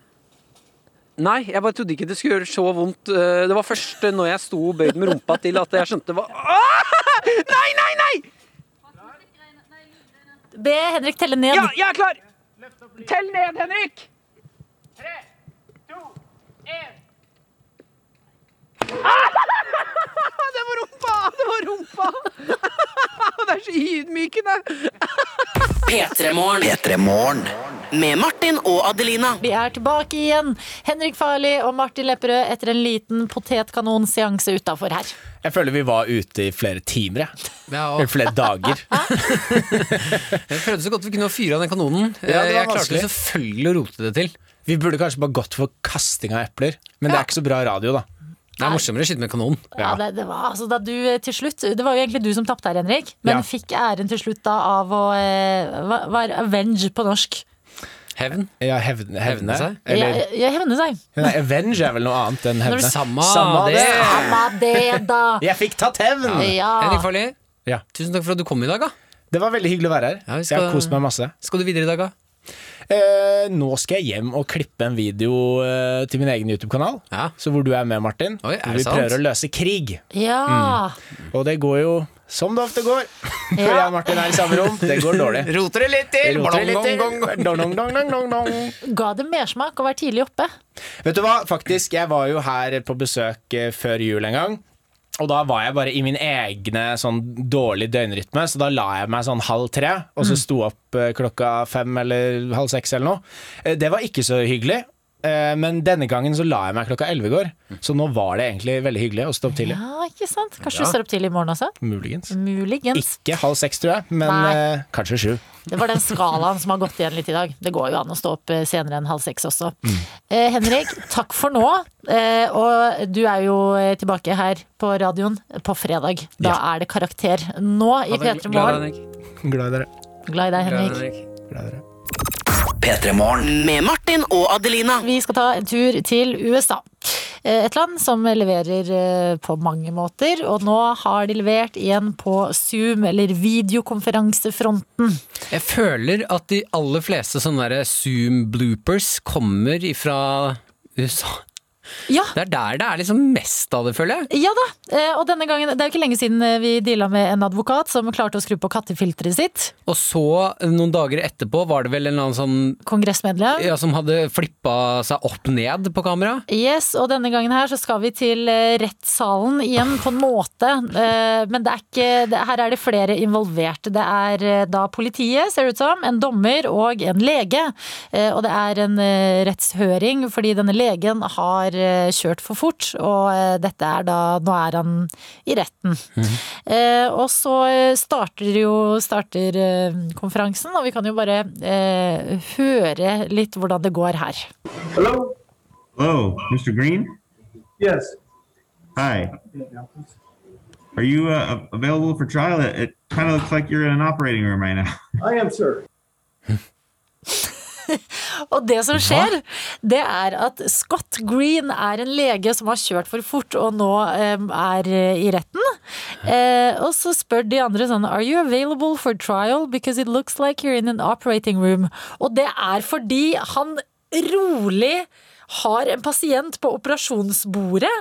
S2: Nei, jeg bare trodde ikke det skulle gjøre så vondt. Eh, Det var først når jeg sto bøyd med rumpa til at jeg skjønte hva Ah! Nei, nei, nei!
S3: Be Henrik telle ned.
S2: Ja, jeg er klar! Tell ned, Henrik! Ah, Det var rumpa! Det var rumpa! Det er så ydmykende.
S6: P3morgen. Med Martin og Adelina.
S3: Vi er tilbake igjen. Henrik Farli og Martin Lepperød etter en liten potetkanonseanse utafor her.
S10: Jeg føler vi var ute i flere timer, jeg.
S13: Ja,
S10: Eller flere dager.
S13: Vi prøvde så godt vi kunne å fyre av den kanonen. Eh,
S10: Ja, det var
S13: jeg klarte
S10: vanskelig.
S13: selvfølgelig å rote det til.
S10: Vi burde kanskje bare gått for kasting av epler, men det er ikke så bra radio, da.
S13: Det er morsommere å skyte med kanon.
S3: Ja. det, det, var, altså, da du, eh, til slutt, det var jo egentlig du som tapte her, Henrik, men
S10: Ja.
S3: fikk æren til slutt da av å eh, hva, hva er avenge på norsk?
S13: Hevn.
S10: Ja, hevne, hevne
S13: seg?
S10: Eller
S3: Jeg, jeg hevner seg.
S10: Nei, Avenge er vel noe annet enn
S13: Når
S10: hevne.
S13: det- Samma
S10: Samma
S13: det.
S3: Samme det, da!
S10: Jeg fikk tatt hevn!
S3: Ah.
S13: Henrik Farli,
S10: Ja.
S13: tusen takk for at du kom i dag. Da.
S10: Det var veldig hyggelig å være her.
S13: Ja, vi
S10: Jeg
S13: skal-
S10: har kost meg masse.
S13: Skal du videre i dag, da?
S10: Eh, nå skal jeg hjem og klippe en video eh, til min egen YouTube-kanal,
S13: Ja.
S10: Så hvor du er med, Martin.
S13: Oi, er
S10: hvor
S13: det
S10: vi
S13: sant?
S10: prøver å løse krig.
S3: Ja!
S10: Og det går jo som det ofte går. Når jeg og Martin er i samme rom, det går dårlig.
S13: Roter det litt
S10: Jeg
S13: til!
S10: roter litt til.
S13: Blong, blong, blong.
S10: Dong, dong, dong, dong, dong, dong.
S3: Ga det mersmak å være tidlig oppe?
S10: Vet du hva, faktisk, jeg var jo her på besøk eh, før jul en gang. Og da var jeg bare i min egne sånn dårlig døgnrytme, så da la jeg meg sånn halv tre,
S3: Mm.
S10: og så sto opp eh, klokka fem eller halv seks eller noe. Eh, Det var ikke så hyggelig. Eh, Eh, Men denne gangen så la jeg meg klokka 11 i går, så nå var det egentlig veldig hyggelig å stå opp tidlig.
S3: Ja, ikke sant? Kanskje
S10: Ja.
S3: du står opp tidlig i morgen også?
S10: Muligens.
S3: Muligens.
S10: Ikke halv seks, tror jeg, men
S3: Nei.
S10: eh, kanskje sju.
S3: Det var den skalaen som har gått igjen litt i dag. Det går jo an å stå opp eh, senere enn halv seks også. Eh, Henrik, takk for nå. Eh, og du er jo eh, tilbake her på radioen på fredag. Da er det karakter nå i P3 Morgen.
S10: Glad i dere.
S3: Glad i deg, Henrik.
S7: P3 Morgen.
S6: Med Martin og Adelina.
S3: Vi skal ta en tur til USA. Eh, Et land som leverer eh, på mange måter, og nå har de levert igjen på Zoom, eller videokonferansefronten.
S2: Jeg føler at de aller fleste sånne der Zoom-bloopers kommer ifra USA. Det er der det er liksom mest av det, føler jeg.
S3: Ja da, eh, og denne gangen, det er jo ikke lenge siden eh, vi deala med en advokat som klarte å skru på kattefilteret sitt.
S2: Og så, noen dager etterpå, var det vel en eller annen sånn
S3: Kongressmedlem.
S2: ja, som hadde flippa seg opp ned på kamera.
S3: Yes, og denne gangen her så skal vi til eh, rettssalen igjen, på en måte. Eh, Men det er ikke, det, her er det flere involverte. Det er eh, da politiet, ser det ut som, en dommer og en lege. Eh, Og det er en eh, rettshøring fordi denne legen har eh, kjørt for fort, og eh, dette er da Nå er han i retten. Eh, og så eh, starter jo starter eh, konferansen, og vi kan jo bare eh, høre litt hvordan det går her.
S14: Hello?
S15: Hello, Mr. Green.
S14: Yes.
S15: Hi. Are you uh, available for trial? It, it kind of looks like you're in an operating room right now.
S14: I am, sir.
S3: Og det som skjer, det er at Scott Green er en lege som har kjørt for fort og nå em, er eh, i retten. Eh, og så spør de andre sånn Are you available for trial? Because it looks like you're in an operating room. Og det er fordi han rolig har en pasient på operasjonsbordet,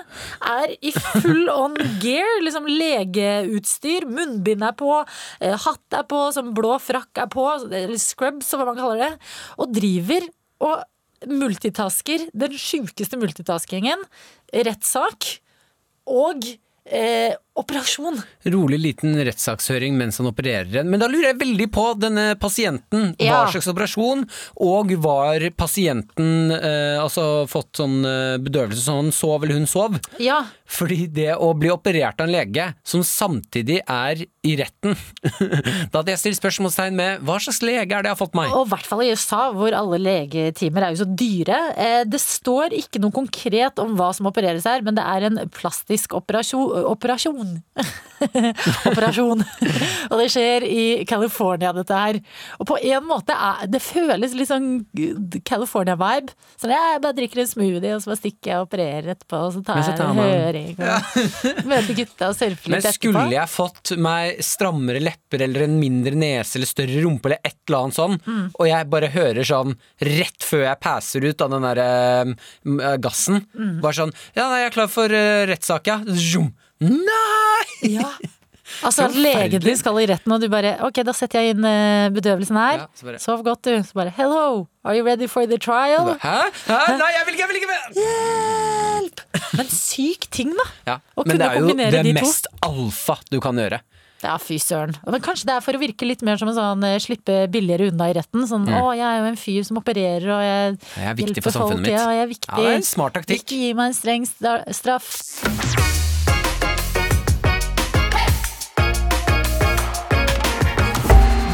S3: er i full on gear, liksom legeutstyr, munnbind er på, eh, hatt er på, sånn blå frakk er på, eller scrubs som man kaller det, og driver og multitasker, den sjukeste multitaskingen, rettssak og eh, operasjon.
S2: Rolig liten rettssakshøring mens han opererer en. Men da lurer jeg veldig på denne pasienten.
S3: Ja.
S2: Hva slags operasjon? Og var pasienten eh, altså fått sånn eh, bedøvelse som han sov eller hun sov?
S3: Ja.
S2: Fordi det å bli operert av en lege som samtidig er i retten Da hadde jeg stilt spørsmålstegn med hva slags lege er det jeg har fått meg?
S3: Og i hvert fall i USA, hvor alle legetimer er jo så dyre. Eh, Det står ikke noe konkret om hva som opereres her, men det er en plastisk operasjon Operasjon! operasjon. Og det skjer i California, dette her. Og på en måte er Det føles litt sånn California-vibe. Så jeg bare drikker en smoothie, og så bare stikker jeg og opererer etterpå, og så tar
S2: Men så
S3: jeg
S2: tar
S3: en
S2: man-
S3: høring. Og møter gutta og surfer
S2: Men
S3: litt etterpå.
S2: skulle jeg fått meg strammere lepper eller en mindre nese eller større rumpe eller et eller annet sånn,
S3: Mm.
S2: og jeg bare hører sånn rett før jeg passer ut av den der eh, m- eh, gassen,
S3: Mm.
S2: bare sånn Ja, nei, jeg er klar for uh, rettssak, ja. Zoom. Nei!
S3: Ja. Altså at legen
S2: Forferdelig.
S3: din skal i retten, og du bare Ok, da setter jeg inn eh, bedøvelsen her.
S2: Ja, så bare-
S3: Sov godt, du. Så bare Hello, are you ready for the trial?
S2: Hæ? Hæ? Nei, jeg vil ikke, jeg vil ikke!
S3: Hjelp! Men syk ting, da.
S2: Ja. Men
S3: Å kunne
S2: det er jo
S3: kombinere
S2: det
S3: de to.
S2: mest alfa du kan gjøre.
S3: Ja, fy søren. Men kanskje det er for å virke litt mer som en sånn eh, slippe billigere unna i retten. Sånn
S2: Mm.
S3: å, jeg er jo en fyr som opererer, og jeg,
S2: Jeg er viktig for
S3: hjelper folk,
S2: samfunnet mitt.
S3: Ja, jeg er viktig.
S2: Ja, det er en smart taktikk.
S3: Ikke gi meg en streng sta- straff.